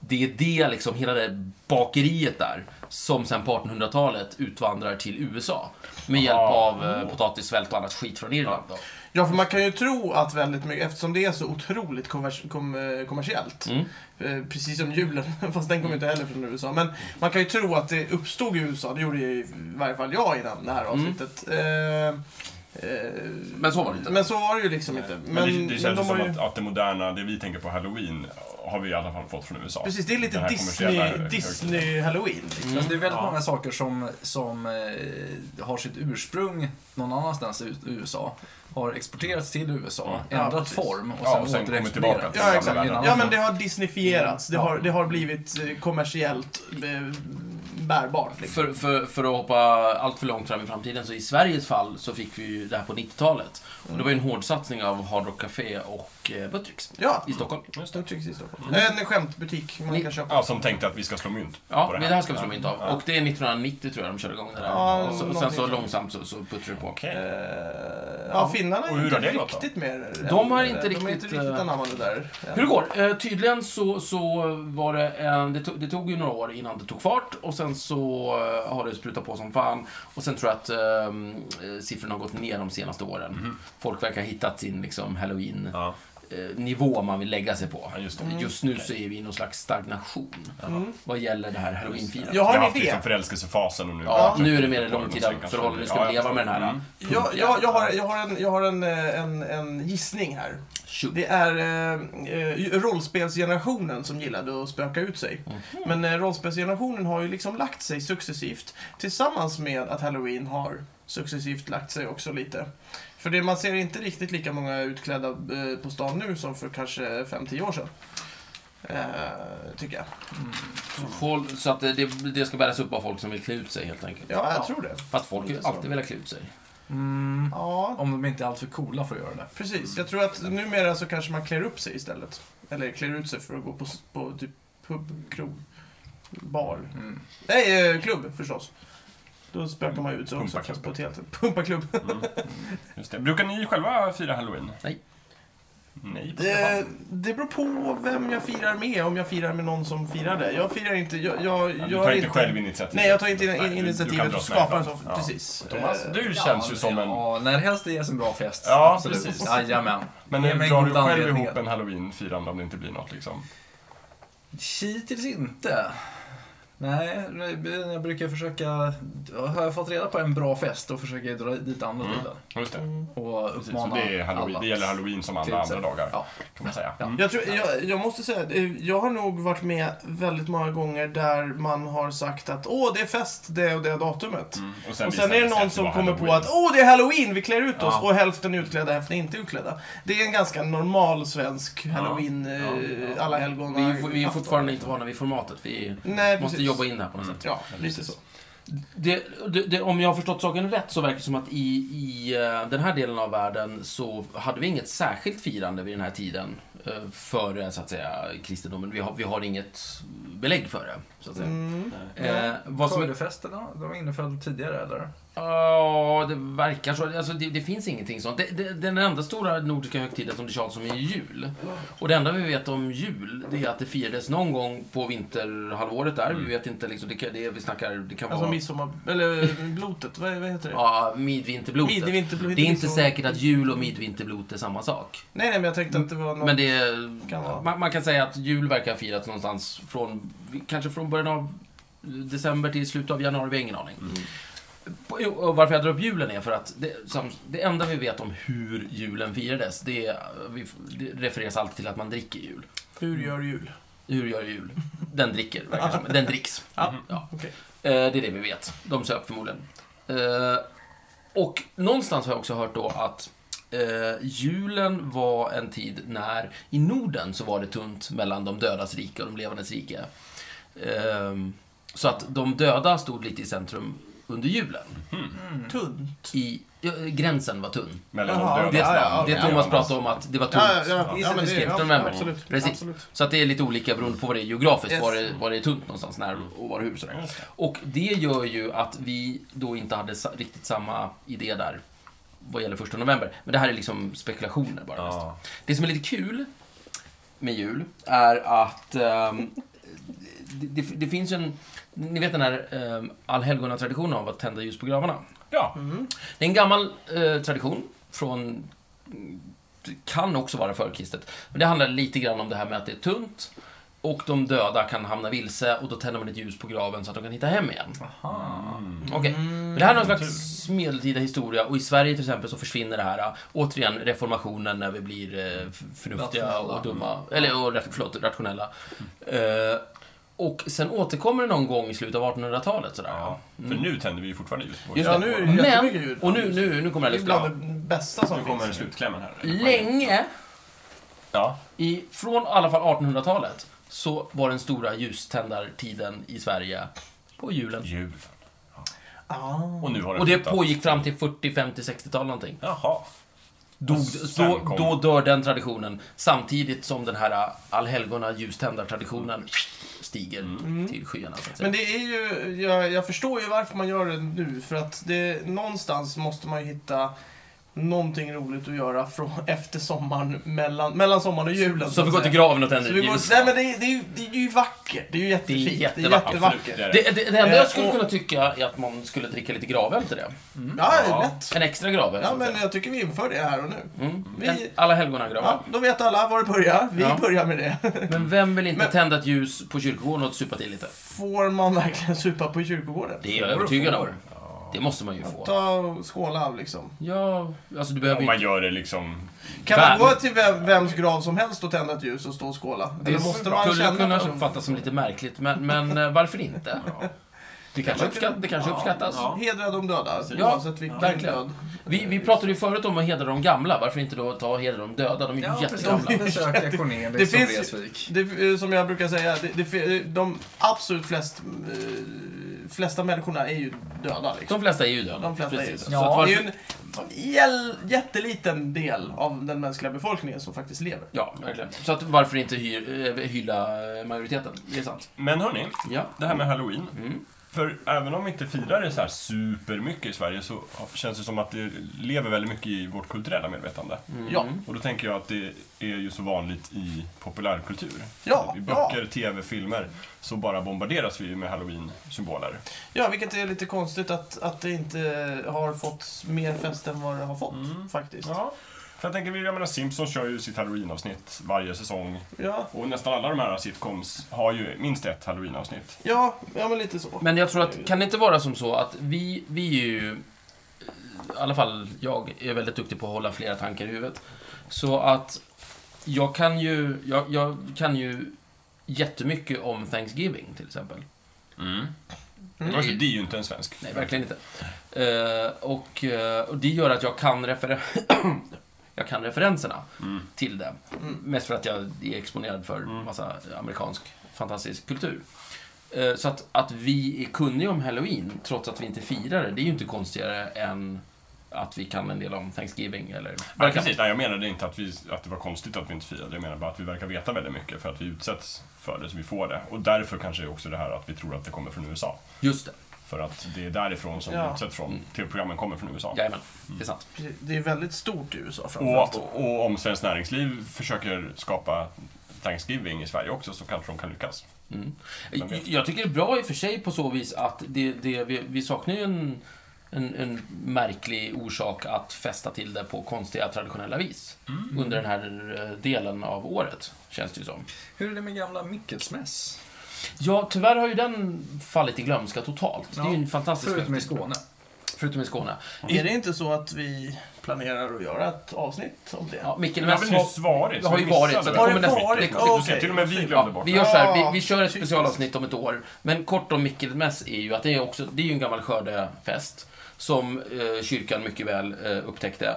[SPEAKER 2] Det är det, liksom, hela det bakeriet där, som sen på 1800-talet utvandrar till USA. Med hjälp av eh, potatissvält och annat skit från Irland. Då.
[SPEAKER 1] Ja, för man kan ju tro att väldigt mycket, eftersom det är så otroligt konvers- kom, eh, kommersiellt,
[SPEAKER 2] Mm.
[SPEAKER 1] eh, precis som julen, fast den kom ju inte heller från USA, men man kan ju
[SPEAKER 4] Mm.
[SPEAKER 1] tro att det uppstod i USA, det gjorde ju i varje fall jag innan det här avsnittet. Eh, Eh,
[SPEAKER 2] Men så var det inte.
[SPEAKER 1] men så var det ju liksom inte. Men,
[SPEAKER 4] Men, det, det
[SPEAKER 1] men
[SPEAKER 4] känns
[SPEAKER 1] de
[SPEAKER 4] ju
[SPEAKER 1] har
[SPEAKER 4] som
[SPEAKER 1] ju...
[SPEAKER 4] att, att det moderna, det vi tänker på halloween, har vi i alla fall fått från USA.
[SPEAKER 1] Precis, det är
[SPEAKER 4] Den
[SPEAKER 1] lite
[SPEAKER 4] här
[SPEAKER 1] Disney,
[SPEAKER 4] kommersiella högtiden.
[SPEAKER 1] Disney Halloween. Liksom.
[SPEAKER 4] Mm.
[SPEAKER 3] Alltså, det är väldigt många saker som, som eh, har sitt ursprung någon annanstans i U- USA. Har exporterats till USA,
[SPEAKER 1] Ja,
[SPEAKER 3] ändrat
[SPEAKER 1] precis.
[SPEAKER 3] form och
[SPEAKER 4] Mm. Ja,
[SPEAKER 3] sen,
[SPEAKER 4] och sen kommit
[SPEAKER 3] återexporterats.
[SPEAKER 4] tillbaka till
[SPEAKER 1] Ja,
[SPEAKER 4] gamla
[SPEAKER 1] exakt.
[SPEAKER 4] världen.
[SPEAKER 1] Ja, men det har disneyfierats. Det
[SPEAKER 3] Ja.
[SPEAKER 1] har, det har blivit eh, kommersiellt eh, bärbart. Liksom.
[SPEAKER 2] För, för, för att hoppa allt för långt fram i framtiden, så i Sveriges fall så fick vi ju det här på 90-talet. Och det var ju en hård satsning av Hard Rock Café och eh, Buttricks
[SPEAKER 1] Ja,
[SPEAKER 2] i Stockholm.
[SPEAKER 1] just det. Trycks i Stockholm. En skämtbutik man
[SPEAKER 2] Mm. Ni-
[SPEAKER 1] kan köpa.
[SPEAKER 4] Ja, som tänkte att vi ska slå mynt
[SPEAKER 2] Ja,
[SPEAKER 4] på det
[SPEAKER 2] men
[SPEAKER 4] här.
[SPEAKER 2] det här ska vi slå mynt av.
[SPEAKER 4] Ja.
[SPEAKER 2] Och det är 1990 tror jag de körde igång det där.
[SPEAKER 1] Ja,
[SPEAKER 2] och så, sen
[SPEAKER 1] någonting
[SPEAKER 2] så
[SPEAKER 1] sånt.
[SPEAKER 2] långsamt så, så puttrar det på.
[SPEAKER 4] Okej.
[SPEAKER 1] Eh, ja, finnarna
[SPEAKER 4] Och
[SPEAKER 1] är
[SPEAKER 4] hur
[SPEAKER 1] inte
[SPEAKER 4] har det gått då?
[SPEAKER 1] riktigt med
[SPEAKER 2] De har inte
[SPEAKER 1] De är
[SPEAKER 2] riktigt,
[SPEAKER 1] inte riktigt
[SPEAKER 2] eh,
[SPEAKER 1] anammade det där. än.
[SPEAKER 2] Hur det går? Eh, tydligen så, så var det en... Det tog, det tog ju några år innan det tog fart och sen så eh, har det sprutat på som fan. Och sen tror jag att ehm, eh, siffrorna har gått ner de senaste åren. Folk verkar ha hittat sin liksom halloween...
[SPEAKER 4] Ja.
[SPEAKER 2] eh, nivå man vill lägga sig på.
[SPEAKER 4] Ja, just det.
[SPEAKER 2] Just nu så är vi i någon slags stagnation vad gäller det här halloweenfirandet.
[SPEAKER 1] Mm. Jag
[SPEAKER 4] Vi
[SPEAKER 1] har
[SPEAKER 4] har
[SPEAKER 1] en
[SPEAKER 4] haft
[SPEAKER 1] idé.
[SPEAKER 4] liksom förälskelsefasen och nu...
[SPEAKER 2] Ja, nu är det mer det
[SPEAKER 4] Ja,
[SPEAKER 2] långtida
[SPEAKER 4] men sen kanske
[SPEAKER 2] förhållande. Nu ska
[SPEAKER 4] det-
[SPEAKER 2] vi
[SPEAKER 4] ja,
[SPEAKER 2] leva med den här.
[SPEAKER 4] mm.
[SPEAKER 1] Jag, jag, jag, har, jag har, en, jag har en, eh, en, en gissning här.
[SPEAKER 2] Shoot.
[SPEAKER 1] Det är eh, eh, rollspelsgenerationen som gillade att spöka ut sig. Men eh, rollspelsgenerationen har ju liksom lagt sig successivt. Tillsammans med att halloween har successivt lagt sig också lite. För det, man ser inte riktigt lika många utklädda eh, på stan nu som för kanske 5-10 år sedan. Eh, tycker jag.
[SPEAKER 2] Folk, så att det- det, det ska bäras upp av folk som vill klä ut sig helt enkelt.
[SPEAKER 1] Ja, jag tror det.
[SPEAKER 2] Fast folk har ju
[SPEAKER 1] Lite så.
[SPEAKER 2] alltid velat klä ut sig.
[SPEAKER 3] Mm,
[SPEAKER 1] Ja,
[SPEAKER 3] om de inte är alltför coola för att göra det.
[SPEAKER 1] precis. Jag tror att numera så kanske man klär upp sig istället. Eller klär ut sig för att gå på, på typ pub, krog, bar.
[SPEAKER 3] Mm.
[SPEAKER 1] Nej, eh, klubb förstås. Då spökar man ju ut sig också
[SPEAKER 4] Pumpaklubb.
[SPEAKER 1] på ett helt... Pumpaklubb.
[SPEAKER 4] Just det. Brukar ni själva fira halloween?
[SPEAKER 2] Nej.
[SPEAKER 4] Nej, på
[SPEAKER 1] Det,
[SPEAKER 4] Stefan.
[SPEAKER 1] Eh, det beror på vem jag firar med, om jag firar med någon som firar det. Jag firar inte... Jag, jag,
[SPEAKER 4] Du
[SPEAKER 1] jag
[SPEAKER 4] tar
[SPEAKER 1] är
[SPEAKER 4] inte själv initiativet?
[SPEAKER 1] Nej, jag tar inte in,
[SPEAKER 4] Nej, du-
[SPEAKER 1] in
[SPEAKER 4] du
[SPEAKER 1] initiativet
[SPEAKER 4] kan dra
[SPEAKER 1] och
[SPEAKER 4] snäven.
[SPEAKER 1] skapar en sån.
[SPEAKER 4] Ja.
[SPEAKER 1] Precis.
[SPEAKER 4] Thomas,
[SPEAKER 1] Eh,
[SPEAKER 4] du känns ju som en...
[SPEAKER 3] Ja, när helst det ges en bra fest.
[SPEAKER 4] Ja,
[SPEAKER 3] Absolut.
[SPEAKER 4] precis.
[SPEAKER 3] Jajamän.
[SPEAKER 4] Men eh,
[SPEAKER 3] Ge mig
[SPEAKER 4] drar du
[SPEAKER 3] goda
[SPEAKER 4] själv
[SPEAKER 3] anledningar.
[SPEAKER 4] ihop en halloween-firande om det inte blir något liksom?
[SPEAKER 3] Hittills inte. Nej, jag brukar försöka... Har jag fått reda på en bra fest, då försöker jag dra dit andra
[SPEAKER 4] Mm.
[SPEAKER 3] till den.
[SPEAKER 4] Just det.
[SPEAKER 3] Och
[SPEAKER 4] Precis, så
[SPEAKER 3] uppmana
[SPEAKER 4] det, är halloween,
[SPEAKER 3] alla.
[SPEAKER 4] det gäller halloween som alla
[SPEAKER 1] Typ
[SPEAKER 3] Till
[SPEAKER 4] andra dagar,
[SPEAKER 3] Ja.
[SPEAKER 4] kan man säga.
[SPEAKER 3] Ja.
[SPEAKER 4] Mm.
[SPEAKER 1] Jag, tror, jag, jag måste säga att eh, jag har nog varit med väldigt många gånger där man har sagt att åh, det är fest det och det datumet.
[SPEAKER 4] Mm.
[SPEAKER 1] och
[SPEAKER 4] visar
[SPEAKER 1] sen är det
[SPEAKER 4] sig
[SPEAKER 1] någon
[SPEAKER 4] att
[SPEAKER 1] som
[SPEAKER 4] var
[SPEAKER 1] kommer på
[SPEAKER 4] halloween.
[SPEAKER 1] att åh, det är halloween, vi klär ut oss.
[SPEAKER 4] Ja.
[SPEAKER 1] Och hälften är utklädda, hälften är inte utklädda. Det är en ganska normal svensk halloween, eh,
[SPEAKER 4] Ja, ja.
[SPEAKER 1] alla helgon.
[SPEAKER 2] Vi, är for- vi är fortfarande inte vana vid formatet. Vi
[SPEAKER 1] Nej,
[SPEAKER 2] måste
[SPEAKER 1] precis.
[SPEAKER 2] jobba in det här på något sätt.
[SPEAKER 1] Ja, lite så.
[SPEAKER 2] Det, det, det, om jag har förstått saken rätt så verkar det som att i, i eh, den här delen av världen så hade vi inget särskilt firande vid den här tiden eh, före så att säga kristendomen. Vi har, vi har inget belägg för det. Så att säga.
[SPEAKER 1] Mm.
[SPEAKER 2] Eh, vad som är,
[SPEAKER 3] Skördefesterna, de var inneföljda tidigare eller?
[SPEAKER 2] ja, det verkar så. Alltså, det, det finns ingenting sånt. Det, det, den enda stora nordiska högtiden som det tjatas om är jul. Och det enda vi vet om jul, det är att det firades någon gång på vinterhalvåret där. Vi vet inte, liksom, det, kan- det, vi snackar, det kan
[SPEAKER 1] Alltså
[SPEAKER 2] vara...
[SPEAKER 1] midsommar... Eller blotet, vad, vad heter det?
[SPEAKER 2] Ja, midvinterblotet.
[SPEAKER 1] Midvinterblot-
[SPEAKER 2] Det är inte
[SPEAKER 1] midsommar.
[SPEAKER 2] säkert att jul och midvinterblot är samma sak.
[SPEAKER 1] Nej, nej, men jag tänkte att det var någon...
[SPEAKER 2] Men det
[SPEAKER 1] Kan vara.
[SPEAKER 2] man, man kan säga att jul verkar ha firats någonstans från, kanske från början av december till slutet av januari, vi har ingen aning. På-
[SPEAKER 1] Mm.
[SPEAKER 2] Och varför jag drar upp julen är för att det, som, det enda vi vet om hur julen firades, det, är, vi, det refereras alltid till att man dricker jul.
[SPEAKER 1] Hur gör jul?
[SPEAKER 2] Hur gör jul? Den dricker, verkar det som. Den dricks.
[SPEAKER 1] Ja,
[SPEAKER 2] Ja.
[SPEAKER 1] okej.
[SPEAKER 2] Eh, Det är det vi vet. De söp förmodligen. Eh, Och någonstans har jag också hört då att eh, julen var en tid när i Norden så var det tunt mellan de dödas rika och de levandes rika. Ehm, Så att de döda stod lite i centrum under julen. Mm.
[SPEAKER 1] Tunt.
[SPEAKER 2] I, ja, gränsen var tunn.
[SPEAKER 4] Mellan
[SPEAKER 1] Jaha,
[SPEAKER 4] de dödas
[SPEAKER 1] det- ja, ja,
[SPEAKER 4] namn.
[SPEAKER 1] ja.
[SPEAKER 2] Det Thomas pratade om att det var tunt.
[SPEAKER 1] ja, ja, men det-
[SPEAKER 2] Skriften
[SPEAKER 1] ja,
[SPEAKER 2] vänner.
[SPEAKER 1] absolut,
[SPEAKER 2] Precis.
[SPEAKER 1] absolut.
[SPEAKER 2] Så att det är lite olika beroende på vad det är geografiskt,
[SPEAKER 1] Yes.
[SPEAKER 2] var, det, var det är tunt någonstans, när och var det hur. Sådär. Och det gör ju att vi då inte hade sa- riktigt samma idé där vad gäller första november. Men det här är liksom spekulationer bara. mest.
[SPEAKER 4] Ja.
[SPEAKER 2] Det som är lite kul med jul är att ehm, det, det, det finns ju en... Ni vet den här um, allhelgona-traditionen av att tända ljus på gravarna?
[SPEAKER 4] Ja,
[SPEAKER 1] Mm.
[SPEAKER 2] Det är en gammal eh, tradition från... Det kan också vara förkristet. Men det handlar lite grann om det här med att det är tunt. Och de döda kan hamna vilse och då tänder man ett ljus på graven så att de kan hitta hem igen. Mm.
[SPEAKER 3] Aha.
[SPEAKER 2] Okej, men det här är någon slags medeltida historia och i Sverige till exempel så försvinner det här. äh, Återigen reformationen när vi blir eh, f- förnuftiga
[SPEAKER 3] Rationella.
[SPEAKER 2] och dumma. Eller och, rat- förlåt, rationella. Eh, och sen återkommer det någon gång i slutet av 1800-talet sådär.
[SPEAKER 4] Ja. För
[SPEAKER 2] Mm.
[SPEAKER 4] nu tänder vi ju fortfarande ljus på
[SPEAKER 1] Ja, nu är det
[SPEAKER 2] Men,
[SPEAKER 1] jättemycket ljud.
[SPEAKER 2] och nu, nu, nu kommer
[SPEAKER 1] Det
[SPEAKER 2] det
[SPEAKER 1] är
[SPEAKER 2] lite bra.
[SPEAKER 1] bland det bästa som
[SPEAKER 4] Nu kommer
[SPEAKER 1] finns.
[SPEAKER 4] slutklämmen här.
[SPEAKER 2] Länge
[SPEAKER 4] Ja.
[SPEAKER 2] I, från i alla fall 1800-talet så var den stora ljuständartiden i Sverige på julen.
[SPEAKER 4] Jul.
[SPEAKER 1] Ah.
[SPEAKER 4] Och nu har det
[SPEAKER 2] Och det
[SPEAKER 4] flyttat.
[SPEAKER 2] pågick fram till 40, 50, 60-tal någonting.
[SPEAKER 4] Jaha.
[SPEAKER 2] Dog,
[SPEAKER 4] sen
[SPEAKER 2] då,
[SPEAKER 4] kom-
[SPEAKER 2] då dör den traditionen samtidigt som den här äh, allhelgona ljuständartraditionen stiger
[SPEAKER 4] Mm.
[SPEAKER 2] till skyarna. Så att säga.
[SPEAKER 1] Mm. Men det är ju, jag, jag förstår ju varför man gör det nu. För att det, någonstans måste man ju hitta någonting roligt att göra från, efter sommaren, mellan, mellan sommaren och julen.
[SPEAKER 2] så vi går
[SPEAKER 1] att
[SPEAKER 2] till
[SPEAKER 1] säga.
[SPEAKER 2] graven och tänder
[SPEAKER 1] Så vi
[SPEAKER 2] ett
[SPEAKER 1] går,
[SPEAKER 2] ljus.
[SPEAKER 1] nej men det, är- det, är, ju- det är ju vackert. Det är ju jättefint.
[SPEAKER 2] jättevackert.
[SPEAKER 4] Absolut, det är det.
[SPEAKER 2] Det, det, det enda jag
[SPEAKER 1] Eh,
[SPEAKER 2] skulle
[SPEAKER 1] och-
[SPEAKER 2] kunna tycka är att man skulle dricka lite gravel till det.
[SPEAKER 1] Ja,
[SPEAKER 4] Ja.
[SPEAKER 1] lätt.
[SPEAKER 2] En extra gravel.
[SPEAKER 1] Ja,
[SPEAKER 2] så att
[SPEAKER 1] men
[SPEAKER 2] säga.
[SPEAKER 1] jag tycker vi inför det här och nu.
[SPEAKER 2] mm.
[SPEAKER 1] vi-
[SPEAKER 2] En Alla helgona gravel.
[SPEAKER 1] Ja, då vet alla var det börjar. Vi
[SPEAKER 2] Ja.
[SPEAKER 1] börjar med det.
[SPEAKER 2] Men vem vill inte
[SPEAKER 1] Men-
[SPEAKER 2] tända ett ljus på kyrkogården och supa till lite?
[SPEAKER 1] Får man verkligen supa på kyrkogården?
[SPEAKER 2] Det är jag övertygad om.
[SPEAKER 3] Får.
[SPEAKER 2] Det måste man ju få.
[SPEAKER 1] Ta och skåla av liksom.
[SPEAKER 2] Ja, alltså du behöver
[SPEAKER 4] Om
[SPEAKER 2] ju
[SPEAKER 4] man
[SPEAKER 2] inte...
[SPEAKER 4] gör det liksom...
[SPEAKER 1] Kan man
[SPEAKER 2] Fan.
[SPEAKER 1] gå till vem, vems grav som helst och tända ett ljus och stå och skåla?
[SPEAKER 2] Det
[SPEAKER 1] Eller måste man
[SPEAKER 2] skulle
[SPEAKER 1] känna
[SPEAKER 2] kunna
[SPEAKER 1] personen?
[SPEAKER 2] uppfattas som lite märkligt, men, men eh, varför inte? Det kanske, uppskatt, det kanske uppskattas.
[SPEAKER 4] Ja.
[SPEAKER 1] Hedra de döda,
[SPEAKER 2] Ja,
[SPEAKER 1] oavsett vilken
[SPEAKER 2] verkligen.
[SPEAKER 1] död.
[SPEAKER 2] Vi, vi pratade ju förut om att hedra de gamla, varför inte då ta och hedra de döda? De är ju
[SPEAKER 3] Ja, precis.
[SPEAKER 2] jättegamla.
[SPEAKER 3] Besöka
[SPEAKER 1] Det
[SPEAKER 3] Cornelis och
[SPEAKER 1] finns-
[SPEAKER 3] liksom Vreeswijk.
[SPEAKER 1] Det, eh, som jag brukar säga, det, det, fi- de absolut flest, eh, flesta människorna är ju döda. Liksom.
[SPEAKER 2] De flesta är ju döda.
[SPEAKER 1] De flesta är ju
[SPEAKER 2] Precis.
[SPEAKER 1] döda.
[SPEAKER 2] Så att
[SPEAKER 3] Ja,
[SPEAKER 1] Det är
[SPEAKER 2] varför,
[SPEAKER 1] ju en jäl- jätteliten del av den mänskliga befolkningen som faktiskt lever.
[SPEAKER 2] ja, verkligen. Så att varför inte hyr, eh, hylla eh, majoriteten? Det är sant.
[SPEAKER 4] Men hörni,
[SPEAKER 2] Ja.
[SPEAKER 4] det här med halloween.
[SPEAKER 2] Mm.
[SPEAKER 4] För även om vi inte firar det så här supermycket i Sverige så känns det som att det lever väldigt mycket i vårt kulturella medvetande.
[SPEAKER 2] Mm.
[SPEAKER 1] Ja.
[SPEAKER 4] Och då tänker jag att det är ju så vanligt i populärkultur.
[SPEAKER 1] Ja,
[SPEAKER 4] I böcker, tv, filmer så bara bombarderas vi ju med halloween-symboler.
[SPEAKER 1] ja, vilket är lite konstigt att, att det inte har fått mer fest än vad det har fått,
[SPEAKER 2] Mm.
[SPEAKER 1] faktiskt.
[SPEAKER 4] Ja. För jag tänker, jag menar Simpsons kör ju sitt halloween-avsnitt varje säsong.
[SPEAKER 1] Ja.
[SPEAKER 4] Och nästan alla de här sitcoms har ju minst ett halloween-avsnitt.
[SPEAKER 1] Ja, ja, men lite så.
[SPEAKER 2] Men jag tror att, kan det inte vara som så att vi, vi är ju, i alla fall jag, är väldigt duktig på att hålla flera tankar i huvudet. Så att jag kan ju, jag, jag kan ju jättemycket om Thanksgiving till exempel.
[SPEAKER 4] Mm. Det är ju inte en svensk.
[SPEAKER 2] Nej, verkligen inte. Eh, och, eh, och det gör att jag kan, refer- jag kan referenserna till det. Mest för att jag är exponerad för massa amerikansk fantastisk kultur. Eh, så att, att vi är kunniga om Halloween, trots att vi inte firar det, det är ju inte konstigare än att vi kan en del om Thanksgiving eller...
[SPEAKER 4] Nej, precis. Nej, jag menade inte att, vi, att det var konstigt att vi inte firade. Jag menar bara att vi verkar veta väldigt mycket för att vi utsätts för det, så vi får det. Och därför kanske också det här att vi tror att det kommer från USA.
[SPEAKER 2] Just det,
[SPEAKER 4] För att det är därifrån som
[SPEAKER 1] Ja.
[SPEAKER 4] vi utsätts
[SPEAKER 2] Mm.
[SPEAKER 4] från. TV-programmen kommer från USA.
[SPEAKER 2] jajamän. Det är sant.
[SPEAKER 1] Det är väldigt stort i USA framförallt.
[SPEAKER 4] Och, och om Svenskt Näringsliv försöker skapa Thanksgiving i Sverige också så kanske de kan lyckas.
[SPEAKER 2] Mm.
[SPEAKER 4] Men vet-
[SPEAKER 2] Jag tycker det är bra i och för sig på så vis att det, det, vi, vi saknar ju en, en, en märklig orsak att fästa till det på konstiga traditionella vis.
[SPEAKER 3] Mm.
[SPEAKER 2] Under den här eh, delen av året, känns det ju som.
[SPEAKER 3] Hur är det med gamla Mickelsmäss?
[SPEAKER 2] Ja, tyvärr har ju den fallit i glömska totalt. Det är ju en fantastisk
[SPEAKER 3] Förutom i
[SPEAKER 2] högtid.
[SPEAKER 3] Skåne.
[SPEAKER 2] Förutom i Skåne.
[SPEAKER 1] Är det inte så att vi planerar att göra ett avsnitt om det?
[SPEAKER 2] Ja, Mikael
[SPEAKER 4] Det har väl
[SPEAKER 2] Wess
[SPEAKER 4] nyss
[SPEAKER 2] har...
[SPEAKER 4] varit?
[SPEAKER 2] alltså, Det har ju
[SPEAKER 4] vi
[SPEAKER 2] varit,
[SPEAKER 4] missade
[SPEAKER 2] så
[SPEAKER 1] kommer nästa-
[SPEAKER 2] det
[SPEAKER 4] det.
[SPEAKER 1] det kommer-
[SPEAKER 4] Du ser, till och med vi glömde
[SPEAKER 2] Ja,
[SPEAKER 4] bort
[SPEAKER 2] vi
[SPEAKER 4] det.
[SPEAKER 2] gör så här,
[SPEAKER 1] Ah,
[SPEAKER 2] vi, vi kör ett
[SPEAKER 1] typiskt.
[SPEAKER 2] specialavsnitt om ett år. Men kort om Mikael Mess är ju att det är, också, det är ju en gammal skördefest som eh, kyrkan mycket väl eh, upptäckte.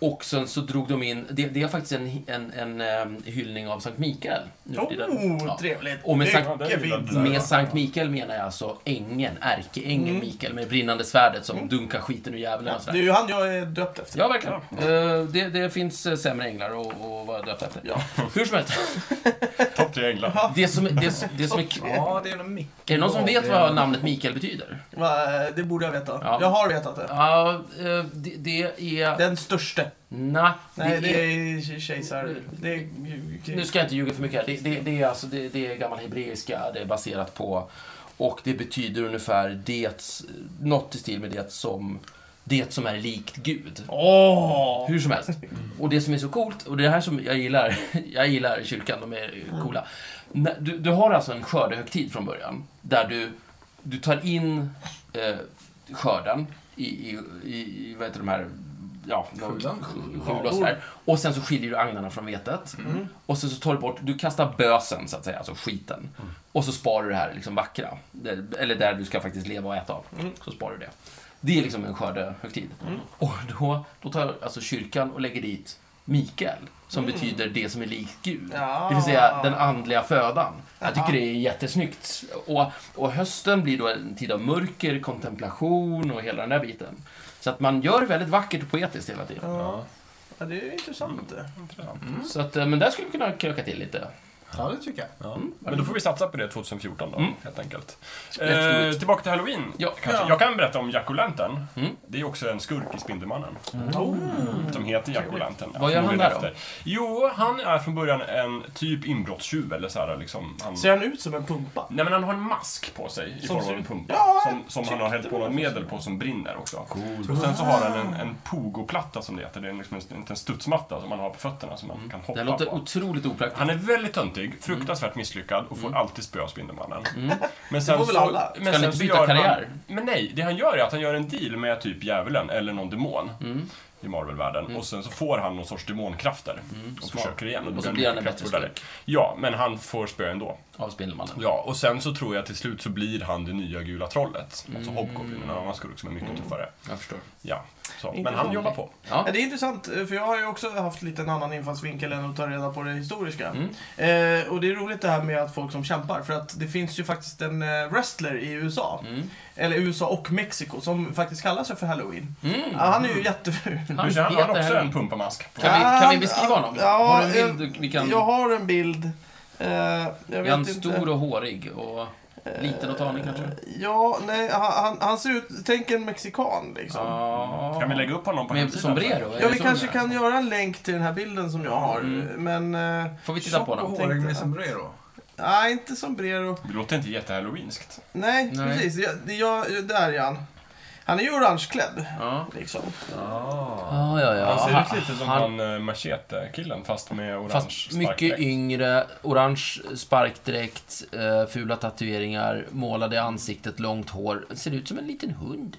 [SPEAKER 2] Och sen så drog de in, det, det är faktiskt en, en, en eh, hyllning av Sankt Mikael. nu för tiden.
[SPEAKER 1] Oh,
[SPEAKER 2] Ja.
[SPEAKER 1] trevligt!
[SPEAKER 2] Och med
[SPEAKER 1] Det
[SPEAKER 2] Sankt-
[SPEAKER 1] är fint.
[SPEAKER 4] med
[SPEAKER 2] Med Sankt Mikael menar jag alltså ängeln, ärkeängeln Mikael med det brinnande svärdet som dunkar skiten ur djävulen. och
[SPEAKER 1] Mm. Det är
[SPEAKER 2] sådär.
[SPEAKER 1] ju han jag är döpt efter.
[SPEAKER 2] Ja, verkligen. Eh, det, det finns eh, sämre änglar och, och vad döpt efter.
[SPEAKER 1] Ja.
[SPEAKER 2] Hur som helst,
[SPEAKER 4] Topp tre änglar.
[SPEAKER 2] det som, det, som- det som är... Är
[SPEAKER 3] Ja, det är nog Mickel.
[SPEAKER 2] det någon som vet vad namnet Mikael betyder?
[SPEAKER 1] Va, eh, Det borde jag veta.
[SPEAKER 2] Ja.
[SPEAKER 1] Jag har vetat det.
[SPEAKER 2] Ja, eh, det, det är...
[SPEAKER 1] Den största.
[SPEAKER 2] Nej, det,
[SPEAKER 1] Nej, det
[SPEAKER 2] är...
[SPEAKER 1] är kejsar... Det är...
[SPEAKER 2] Nu ska jag inte ljuga för mycket här. Det, det, det, är, alltså, det, det är gammal hebreiska, det är baserat på... Och det betyder ungefär det... Något i stil med det som... Det som är likt Gud.
[SPEAKER 1] Åh!
[SPEAKER 2] Hur som helst. Och det som är så coolt, och det här som jag gillar, jag gillar kyrkan, de är coola. när- du, du har alltså en skördehögtid från början, där du, du tar in eh, skörden i, i, i, i, vad heter de här, ja,
[SPEAKER 3] Skjulan.
[SPEAKER 2] skjul och sådär. Och sen så skiljer du agnarna från vetet. Och sen så tar du bort, du kastar bösen så att säga, alltså skiten. Och så sparar du det här liksom vackra, där, eller där du ska faktiskt leva och äta av. Så sparar du det. Det är liksom en skördehögtid.
[SPEAKER 4] Mm.
[SPEAKER 2] Och då, då tar alltså kyrkan och lägger dit Mikael, som
[SPEAKER 4] Mm.
[SPEAKER 2] betyder det som är likt Gud.
[SPEAKER 1] Ja.
[SPEAKER 2] Det vill säga den andliga födan. Jag tycker
[SPEAKER 1] Aha.
[SPEAKER 2] det är jättesnyggt. Och, och hösten blir då en tid av mörker, kontemplation och hela den där biten. Så att man gör väldigt vackert och poetiskt hela tiden.
[SPEAKER 1] Ja. ja, det är intressant
[SPEAKER 2] Mm.
[SPEAKER 1] det.
[SPEAKER 4] Mm.
[SPEAKER 2] Så att, eh, men där skulle vi kunna kröka till lite.
[SPEAKER 3] Ja, det tycker jag.
[SPEAKER 4] Ja.
[SPEAKER 2] Mm.
[SPEAKER 4] Men då får vi satsa på det 2014 då, helt enkelt. Eh,
[SPEAKER 2] Jätteroligt.
[SPEAKER 4] tillbaka till Halloween.
[SPEAKER 2] Mm. Ja.
[SPEAKER 4] Kanske.
[SPEAKER 1] Ja.
[SPEAKER 4] Jag kan berätta om Jack O'Lantern.
[SPEAKER 2] Mm.
[SPEAKER 4] Det är också en skurk i Spindelmannen. Som heter Jack O'Lantern.
[SPEAKER 2] Vad gör han
[SPEAKER 4] Förmodligen
[SPEAKER 2] där då?
[SPEAKER 4] efter. Jo, han är från början en typ inbrottstjuv eller så här liksom. Han...
[SPEAKER 1] Ser han ut som en pumpa?
[SPEAKER 4] Nej men han har en mask på sig i
[SPEAKER 1] Som
[SPEAKER 4] form
[SPEAKER 1] ser
[SPEAKER 4] av en
[SPEAKER 1] ut-
[SPEAKER 4] pumpa.
[SPEAKER 1] Ja,
[SPEAKER 4] som som han har hällt på något medel på som brinner också. Och sen så har han en, en pogoplatta som det heter. Det är en liksom en, en studsmatta som man har på fötterna som man kan hoppa
[SPEAKER 2] Mm. Det låter
[SPEAKER 4] på.
[SPEAKER 2] otroligt opraktiskt.
[SPEAKER 4] Han är väldigt
[SPEAKER 1] Mm.
[SPEAKER 4] töntig, fruktansvärt misslyckad och får alltid spö av Spindelmannen. Men
[SPEAKER 1] får väl alla.
[SPEAKER 4] men
[SPEAKER 2] Ska han
[SPEAKER 4] sen
[SPEAKER 2] inte
[SPEAKER 4] så
[SPEAKER 2] byta
[SPEAKER 4] gör
[SPEAKER 2] karriär?
[SPEAKER 4] Han, men nej, det han gör är att han gör en deal med typ djävulen eller någon demon
[SPEAKER 2] Mm.
[SPEAKER 4] i Marvel-världen. Och sen så får han någon sorts demonkrafter och
[SPEAKER 2] smart.
[SPEAKER 4] försöker igen.
[SPEAKER 2] Och
[SPEAKER 4] då
[SPEAKER 2] så blir han en
[SPEAKER 4] mycket
[SPEAKER 2] bättre
[SPEAKER 4] kraftfullare. Ja, men han får spö ändå.
[SPEAKER 2] Av Spindelmannen.
[SPEAKER 4] Ja, och sen så tror jag till slut så blir han det nya gula trollet.
[SPEAKER 2] Mm.
[SPEAKER 4] Alltså Hobgoblin, en annan skurk som är mycket tuffare.
[SPEAKER 2] Jag förstår.
[SPEAKER 4] Ja, så. men
[SPEAKER 1] Intressant.
[SPEAKER 4] han jobbar på.
[SPEAKER 1] Ja, det är intressant, eh, för jag har ju också haft lite en annan infallsvinkel än att ta reda på det historiska.
[SPEAKER 2] Mm.
[SPEAKER 1] Eh, och det är roligt det här med att folk som kämpar, för att det finns ju faktiskt en eh, wrestler i USA,
[SPEAKER 2] Mm.
[SPEAKER 1] eller USA och Mexiko, som faktiskt kallar sig för Halloween.
[SPEAKER 2] Mm.
[SPEAKER 1] Ja, han är ju jätteful.
[SPEAKER 4] Han, han
[SPEAKER 2] heter
[SPEAKER 4] har också
[SPEAKER 2] Henry.
[SPEAKER 4] en pumpamask. På.
[SPEAKER 2] Kan vi, kan
[SPEAKER 1] Ja,
[SPEAKER 2] vi beskriva honom?
[SPEAKER 1] ja,
[SPEAKER 2] har du en bild
[SPEAKER 1] eh,
[SPEAKER 2] vi kan...
[SPEAKER 1] Jag har en bild. Eh, jag
[SPEAKER 2] är han
[SPEAKER 1] vet inte.
[SPEAKER 2] stor och hårig och liten och tanig kanske?
[SPEAKER 1] Ja, nej, han, han- han ser ut... Tänk en mexikan liksom.
[SPEAKER 2] Ja.
[SPEAKER 4] Eh, Kan vi lägga upp honom på
[SPEAKER 2] Med
[SPEAKER 4] hemsidan?
[SPEAKER 2] sombrero? är
[SPEAKER 1] Ja,
[SPEAKER 2] det
[SPEAKER 1] vi
[SPEAKER 2] så
[SPEAKER 1] kanske
[SPEAKER 2] det Mm. är?
[SPEAKER 1] kan göra en länk till den här bilden som jag har. Men... eh,
[SPEAKER 2] Får vi titta på
[SPEAKER 3] Tjock och
[SPEAKER 2] honom?
[SPEAKER 1] hår.
[SPEAKER 3] hårig med
[SPEAKER 1] Tänkte-
[SPEAKER 3] sombrero.
[SPEAKER 1] nej, inte sombrero.
[SPEAKER 4] Det låter inte jättehalloweenskt.
[SPEAKER 1] Nej,
[SPEAKER 2] Nej.
[SPEAKER 1] precis. Jag, jag, där är han. Han är ju orangeklädd.
[SPEAKER 2] Ja.
[SPEAKER 1] Liksom.
[SPEAKER 2] Ja, ja, ja.
[SPEAKER 4] Han ser ut lite som
[SPEAKER 2] han-
[SPEAKER 4] han, han machete-killen fast med orange
[SPEAKER 2] Fast mycket
[SPEAKER 4] sparkdräkt.
[SPEAKER 2] yngre, orange sparkdräkt, eh, fula tatueringar, målade i ansiktet, långt hår. Ser ut som en liten hund.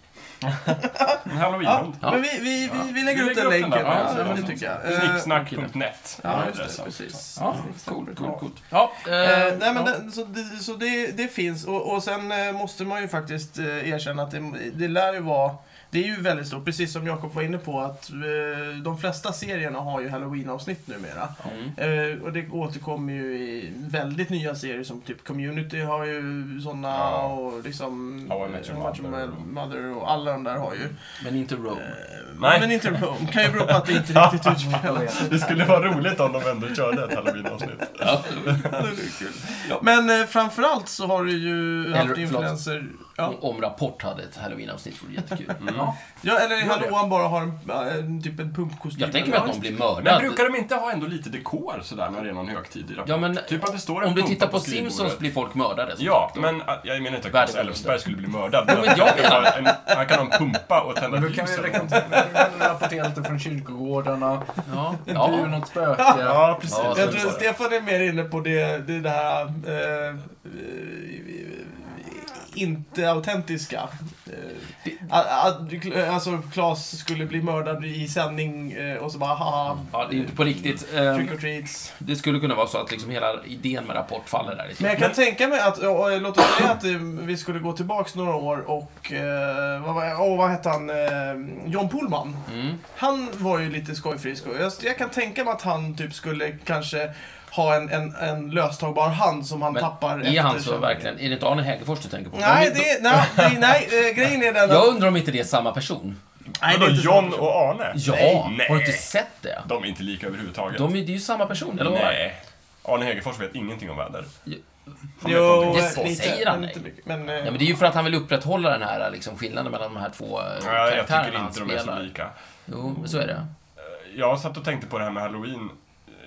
[SPEAKER 4] En halloweenhund.
[SPEAKER 2] Ja.
[SPEAKER 1] Men vi, vi, vi, vi
[SPEAKER 4] Vi
[SPEAKER 1] lägger upp
[SPEAKER 4] lägger
[SPEAKER 1] den
[SPEAKER 4] upp den
[SPEAKER 1] länken.
[SPEAKER 4] där, va?
[SPEAKER 1] Ja,
[SPEAKER 4] Ja,
[SPEAKER 1] det
[SPEAKER 4] ja.
[SPEAKER 1] tycker jag. Eh,
[SPEAKER 4] Snicksnack.net.
[SPEAKER 1] Ja,
[SPEAKER 4] är
[SPEAKER 1] just det.
[SPEAKER 4] adressen.
[SPEAKER 1] Precis.
[SPEAKER 2] Ja,
[SPEAKER 1] coolt,
[SPEAKER 2] coolt. Ja, eh,
[SPEAKER 1] Eh, nej, men
[SPEAKER 2] ja.
[SPEAKER 1] det, så det, så det, det finns, och, och sen eh, måste man ju faktiskt eh, erkänna att det, det lär ju vara det är ju väldigt stort, precis som Jakob var inne på, att eh, de flesta serierna har ju halloween-avsnitt numera.
[SPEAKER 2] Mm.
[SPEAKER 1] Eh, och det återkommer ju i väldigt nya serier som typ Community har ju sådana
[SPEAKER 4] Ja.
[SPEAKER 1] och liksom
[SPEAKER 4] How I Met Your
[SPEAKER 1] eh, How I Met
[SPEAKER 4] Mother.
[SPEAKER 1] Your Mother och alla de där har ju.
[SPEAKER 2] Men inte Rome.
[SPEAKER 4] Nej.
[SPEAKER 1] Men inte Rome, kan ju bero på att det inte riktigt utspelas.
[SPEAKER 4] Det skulle vara roligt om de ändå körde ett halloween-avsnitt. Mm.
[SPEAKER 2] Ja.
[SPEAKER 1] Men eh, framförallt så har du ju haft
[SPEAKER 2] förlåt.
[SPEAKER 1] influenser... Ja.
[SPEAKER 4] Mm.
[SPEAKER 2] Om- Om Rapport hade ett halloween-avsnitt vore det jättekul.
[SPEAKER 3] Ja.
[SPEAKER 1] Ja, eller
[SPEAKER 4] Gör
[SPEAKER 1] hallå,
[SPEAKER 4] det.
[SPEAKER 1] han bara har en, ja, en, typ en pumpkostym.
[SPEAKER 2] Jag tänker mig
[SPEAKER 1] eller-
[SPEAKER 2] att någon blir
[SPEAKER 4] Men
[SPEAKER 2] mördad.
[SPEAKER 4] brukar de inte ha ändå lite dekor sådär när det är någon högtid i rapport?
[SPEAKER 2] Ja, men
[SPEAKER 4] typ att det står en
[SPEAKER 2] Om du
[SPEAKER 4] pumpa
[SPEAKER 2] tittar på
[SPEAKER 4] skrivbordet.
[SPEAKER 2] Simpsons blir folk mördade. som
[SPEAKER 4] Ja,
[SPEAKER 2] sagt då.
[SPEAKER 4] men äh, jag menar inte att
[SPEAKER 2] Världen
[SPEAKER 4] Claes Elfsberg skulle bli mördad.
[SPEAKER 2] Jo, men jag
[SPEAKER 4] att det
[SPEAKER 2] menar-
[SPEAKER 4] var en, han kan ha en pumpa och tända
[SPEAKER 3] Men
[SPEAKER 4] ett
[SPEAKER 3] då kan
[SPEAKER 4] ljus
[SPEAKER 3] vi
[SPEAKER 4] eller något.
[SPEAKER 3] rekommendera- rapportera lite från kyrkogårdarna.
[SPEAKER 2] Ja,
[SPEAKER 3] Det blir ju
[SPEAKER 2] ja.
[SPEAKER 3] något spöke.
[SPEAKER 4] Ja, precis.
[SPEAKER 2] Ja,
[SPEAKER 1] Jag tror att Stefan är mer inne på det, det där... eh, eh, inte autentiska. Eh, att- att- alltså, Claes skulle bli mördad i sändning eh, och så bara haha,
[SPEAKER 2] ja, det är inte på riktigt. Eh,
[SPEAKER 1] trick or treats.
[SPEAKER 2] Det skulle kunna vara så att liksom hela idén med Rapport faller där lite.
[SPEAKER 1] Men jag kan tänka mig att, ja, eh, låt oss säga att eh, vi skulle gå tillbaks några år och, eh, vad, var- åh, vad hette han, eh, John Pullman.
[SPEAKER 2] Mm.
[SPEAKER 1] Han var ju lite skojfrisk och jag, jag kan tänka mig att han typ skulle kanske ha en, en, en löstagbar hand som han
[SPEAKER 2] Men
[SPEAKER 1] tappar
[SPEAKER 2] Är han så
[SPEAKER 1] kändningen.
[SPEAKER 2] verkligen? Är det inte Arne Hägerfors du tänker på?
[SPEAKER 1] Nej,
[SPEAKER 2] De-
[SPEAKER 1] det, är- nej, det, är- nej eh, grejen är den
[SPEAKER 2] Jag
[SPEAKER 1] att...
[SPEAKER 2] undrar om inte det är samma person?
[SPEAKER 1] Nej, det
[SPEAKER 4] Vadå,
[SPEAKER 1] är inte så
[SPEAKER 4] John
[SPEAKER 1] mycket.
[SPEAKER 4] och Arne?
[SPEAKER 2] Ja,
[SPEAKER 4] Nej,
[SPEAKER 2] har du
[SPEAKER 4] nej.
[SPEAKER 2] inte sett det?
[SPEAKER 4] De är inte lika överhuvudtaget.
[SPEAKER 2] De är, det är ju samma person, eller vad?
[SPEAKER 4] Nej. Arne Hegerfors vet ingenting om väder.
[SPEAKER 2] Jo.
[SPEAKER 4] Han vet
[SPEAKER 1] Jo,
[SPEAKER 4] någonting.
[SPEAKER 2] Det så
[SPEAKER 1] lite,
[SPEAKER 2] säger han,
[SPEAKER 1] men
[SPEAKER 2] nej.
[SPEAKER 1] inte mycket. Men, eh,
[SPEAKER 2] Ja, men det är ju för att han vill upprätthålla den här liksom, skillnaden mellan de här två eh,
[SPEAKER 4] Nej, jag
[SPEAKER 2] karaktärerna
[SPEAKER 4] tycker
[SPEAKER 2] han
[SPEAKER 4] inte de är så
[SPEAKER 2] spelar.
[SPEAKER 4] lika.
[SPEAKER 2] Jo, men så är det.
[SPEAKER 4] Jag satt och tänkte på det här med halloween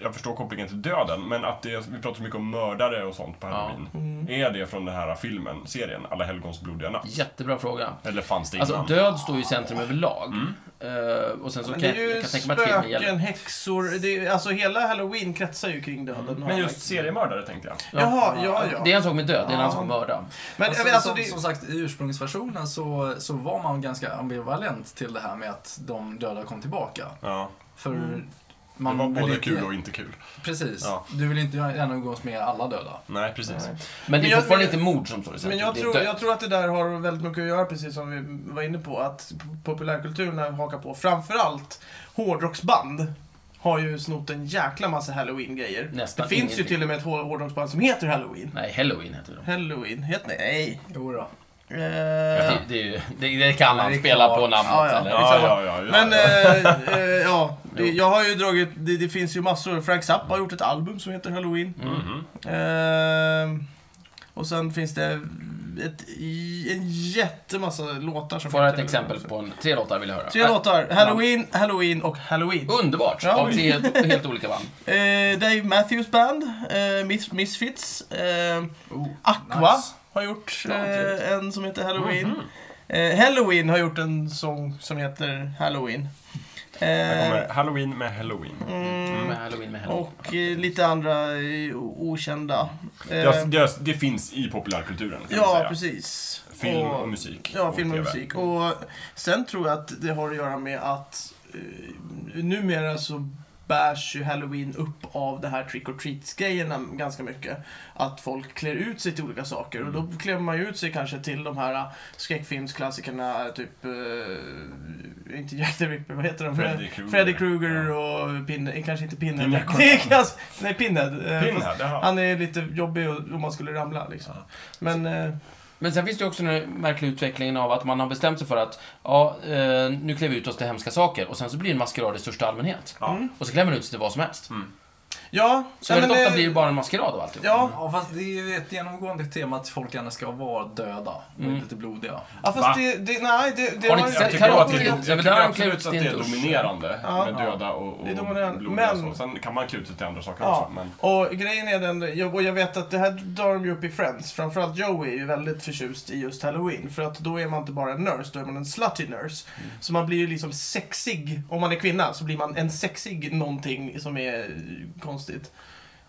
[SPEAKER 4] jag förstår kopplingen till döden, men att det, vi pratar så mycket om mördare och sånt på halloween.
[SPEAKER 1] Mm.
[SPEAKER 4] Är det från den här filmen, serien, Alla helgons blodiga natt?
[SPEAKER 2] Jättebra fråga.
[SPEAKER 4] Eller fanns det innan?
[SPEAKER 2] Alltså, död står ju i centrum överlag. Eh, och sen så
[SPEAKER 1] Mm. Men
[SPEAKER 2] kan
[SPEAKER 1] det är
[SPEAKER 2] jag, jag
[SPEAKER 1] ju
[SPEAKER 2] kan tänka mig att filmen
[SPEAKER 1] spöken,
[SPEAKER 2] gäller...
[SPEAKER 1] häxor, det är, alltså hela halloween kretsar ju kring döden. har
[SPEAKER 4] men
[SPEAKER 1] jag
[SPEAKER 4] just
[SPEAKER 1] märkt.
[SPEAKER 4] seriemördare tänkte jag.
[SPEAKER 1] Jaha, ja, ja.
[SPEAKER 2] Mm. Det är en sak med död, det är en annan
[SPEAKER 1] Ja.
[SPEAKER 2] sak med mörda.
[SPEAKER 1] Men
[SPEAKER 3] Alltså,
[SPEAKER 1] alltså,
[SPEAKER 3] som,
[SPEAKER 1] det,
[SPEAKER 3] som sagt, i ursprungsversionen så, så var man ganska ambivalent till det här med att de döda kom tillbaka.
[SPEAKER 4] Ja.
[SPEAKER 3] För
[SPEAKER 4] Det
[SPEAKER 3] man
[SPEAKER 4] var
[SPEAKER 3] vill
[SPEAKER 4] både
[SPEAKER 3] inte-
[SPEAKER 4] kul och inte kul.
[SPEAKER 3] Precis.
[SPEAKER 4] Ja.
[SPEAKER 3] Du vill inte gärna umgås med alla döda.
[SPEAKER 4] Nej, precis.
[SPEAKER 2] Men det
[SPEAKER 1] Men
[SPEAKER 2] är
[SPEAKER 1] jag-
[SPEAKER 2] fortfarande
[SPEAKER 1] men-
[SPEAKER 2] inte mord som står i
[SPEAKER 1] men
[SPEAKER 2] centrum.
[SPEAKER 1] jag
[SPEAKER 2] det är
[SPEAKER 1] tror,
[SPEAKER 2] död.
[SPEAKER 1] jag tror att det där har väldigt mycket att göra, precis som vi var inne på, att p- populärkulturen har hakat på. Framförallt hårdrocksband har ju snott en jäkla massa halloween-grejer. det
[SPEAKER 2] Nästan
[SPEAKER 1] finns ju
[SPEAKER 2] ingenting.
[SPEAKER 1] till och med ett hår- hårdrocksband som heter halloween.
[SPEAKER 2] Nej, halloween heter de.
[SPEAKER 1] Halloween, heter det? Nej.
[SPEAKER 3] Jo då.
[SPEAKER 1] Eh,
[SPEAKER 2] Det, det, är ju- det, det kan han
[SPEAKER 3] Det är
[SPEAKER 2] spela
[SPEAKER 3] klart.
[SPEAKER 2] på namnet.
[SPEAKER 1] Ja, ja.
[SPEAKER 2] Eller?
[SPEAKER 4] Ja, ja, ja. ja.
[SPEAKER 1] Men eh, eh, ja, det, jag har ju dragit, det, det finns ju massor. Frank Zappa har gjort ett album som heter Halloween.
[SPEAKER 4] Mhm.
[SPEAKER 2] Mm-hmm.
[SPEAKER 1] Ehm, och sen finns det ett, i- en jättemassa låtar som
[SPEAKER 2] Får jag ett
[SPEAKER 1] heter-
[SPEAKER 2] exempel på en, tre låtar vill jag höra.
[SPEAKER 1] Tre låtar. Halloween, Halloween och Halloween.
[SPEAKER 2] Underbart!
[SPEAKER 1] Ja,
[SPEAKER 2] Av
[SPEAKER 1] oj.
[SPEAKER 2] tre helt, helt olika band.
[SPEAKER 1] Eh, Dave Matthews Band, eh, Mis- Misfits, eh,
[SPEAKER 3] Oh,
[SPEAKER 1] Aqua
[SPEAKER 3] nice.
[SPEAKER 1] har gjort
[SPEAKER 3] Ja, trevligt.
[SPEAKER 1] eh, en som heter Halloween.
[SPEAKER 4] Mhm.
[SPEAKER 1] Eh, Halloween har gjort en sång som heter Halloween.
[SPEAKER 4] Här
[SPEAKER 1] Eh,
[SPEAKER 4] kommer Halloween med Halloween.
[SPEAKER 1] mm,
[SPEAKER 2] Med Halloween med Halloween.
[SPEAKER 1] Och eh, lite andra eh, o- okända. Eh,
[SPEAKER 4] Det, det, det finns i populärkulturen, kan man
[SPEAKER 1] ja,
[SPEAKER 4] säga.
[SPEAKER 1] precis.
[SPEAKER 4] Film och musik.
[SPEAKER 1] Ja, film och
[SPEAKER 4] TV.
[SPEAKER 1] musik. Och sen tror jag att det har att göra med att eh, numera så bärs ju halloween upp av det här trick or treats-grejerna ganska mycket. Att folk klär ut sig till olika saker och
[SPEAKER 4] Mm.
[SPEAKER 1] då klär man ju ut sig kanske till de här eh, skräckfilmsklassikerna typ, eh, inte Jack the Ripper, vad heter de?
[SPEAKER 4] Freddy Krueger.
[SPEAKER 1] Freddy Krueger och Pinhead, kanske inte Pinhead.
[SPEAKER 4] Pinhead.
[SPEAKER 1] Det är ganska- Nej, Pinhead. Eh, fast-
[SPEAKER 4] Pinhead, jaha.
[SPEAKER 1] han är lite jobbig och- om man skulle ramla liksom. Men... Eh,
[SPEAKER 2] Men sen finns det ju också den här märkliga utvecklingen av att man har bestämt sig för att ja, eh, nu klär vi ut oss till hemska saker och sen så blir det en maskerad i största allmänhet.
[SPEAKER 4] Ja.
[SPEAKER 1] Mm.
[SPEAKER 2] Och så klär man ut sig till vad som helst.
[SPEAKER 1] ja,
[SPEAKER 2] Så
[SPEAKER 1] nej,
[SPEAKER 2] väldigt ofta
[SPEAKER 1] eh,
[SPEAKER 2] blir det bara en maskerad av alltihop.
[SPEAKER 1] Ja,
[SPEAKER 3] Ja, fast det är ju ett genomgående tema att folk gärna ska vara döda och inte lite blodiga.
[SPEAKER 1] ja fast
[SPEAKER 4] Va?
[SPEAKER 1] det, det... Nej, det... det
[SPEAKER 2] Har ni
[SPEAKER 1] har
[SPEAKER 2] inte
[SPEAKER 1] jag
[SPEAKER 2] sett
[SPEAKER 4] Jag tycker,
[SPEAKER 1] inte-
[SPEAKER 2] Karate
[SPEAKER 4] att det,
[SPEAKER 2] Kid?
[SPEAKER 4] jag
[SPEAKER 2] Ja, men
[SPEAKER 4] tycker
[SPEAKER 2] där har de
[SPEAKER 4] absolut
[SPEAKER 2] klätt
[SPEAKER 4] att det
[SPEAKER 2] in
[SPEAKER 4] är
[SPEAKER 2] dusch.
[SPEAKER 4] dominerande
[SPEAKER 1] Ja.
[SPEAKER 4] med döda och, och
[SPEAKER 1] Det är dominerande,
[SPEAKER 4] blodiga och
[SPEAKER 1] men-
[SPEAKER 4] så. Sen kan man klä ut sig till andra saker
[SPEAKER 1] Ja,
[SPEAKER 4] också. Men
[SPEAKER 1] och grejen är den, jag- och jag vet att det här drar de ju upp i Friends, framförallt Joey är ju väldigt förtjust i just Halloween, för att då är man inte bara en nurse, då är man en slutty nurse.
[SPEAKER 2] Mm.
[SPEAKER 1] Så man blir ju liksom sexig, om man är kvinna, så blir man en sexig någonting som är konstigt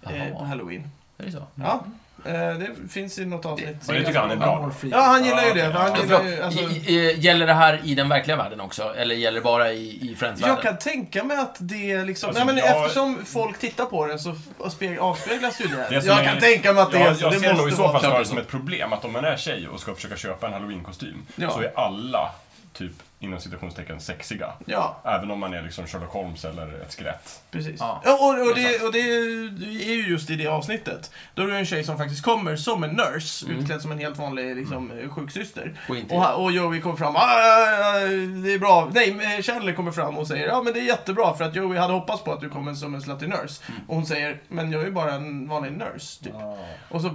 [SPEAKER 1] eh,
[SPEAKER 2] Jaha. Mm.
[SPEAKER 1] på Halloween.
[SPEAKER 2] Är det så?
[SPEAKER 1] Ja, eh, det finns i något avsnitt.
[SPEAKER 4] Men det tycker han är bra.
[SPEAKER 1] Ja, han gillar ju
[SPEAKER 4] Ja,
[SPEAKER 1] det.
[SPEAKER 4] okej.
[SPEAKER 1] för Han gillar
[SPEAKER 4] Ja,
[SPEAKER 1] ju,
[SPEAKER 2] Förlåt,
[SPEAKER 1] alltså,
[SPEAKER 2] i- i- gäller det här i den verkliga världen också? Eller gäller det bara i, i Friends-världen?
[SPEAKER 1] jag kan tänka mig att det liksom...
[SPEAKER 4] Alltså,
[SPEAKER 1] nej, men
[SPEAKER 4] jag-
[SPEAKER 1] Eftersom folk tittar på den så speg- avspeglas ju det.
[SPEAKER 4] Det som
[SPEAKER 1] jag
[SPEAKER 4] är-
[SPEAKER 1] kan tänka mig att det är
[SPEAKER 4] jag,
[SPEAKER 1] så.
[SPEAKER 4] jag
[SPEAKER 1] det
[SPEAKER 4] ser nog i
[SPEAKER 1] måste
[SPEAKER 4] så
[SPEAKER 1] vara-
[SPEAKER 4] fall
[SPEAKER 2] klart
[SPEAKER 4] snarare
[SPEAKER 2] det
[SPEAKER 4] som
[SPEAKER 2] så.
[SPEAKER 4] ett problem att om man är tjej och ska försöka köpa en halloweenkostym
[SPEAKER 1] Ja.
[SPEAKER 4] så är alla typ inom citationstecken sexiga.
[SPEAKER 1] Ja,
[SPEAKER 4] Även om man är liksom Sherlock Holmes eller ett skelett.
[SPEAKER 1] precis.
[SPEAKER 3] Ja.
[SPEAKER 1] Ja. och, och, det, och det är ju just i det avsnittet. Då är det en tjej som faktiskt kommer som en nurse, utklädd som en helt vanlig liksom, sjuksyster.
[SPEAKER 2] Mm. Och inte-
[SPEAKER 1] Och, ha- och Joey kommer fram, "Ah, ah, ah, det är bra. Nej, men Chandler kommer fram och säger, ja men det är jättebra för att Joey hade hoppats på att du kommer som en slutty nurse.
[SPEAKER 2] Mm.
[SPEAKER 1] Och hon säger, men jag är ju bara en vanlig nurse, typ.
[SPEAKER 2] Ah.
[SPEAKER 1] Och så,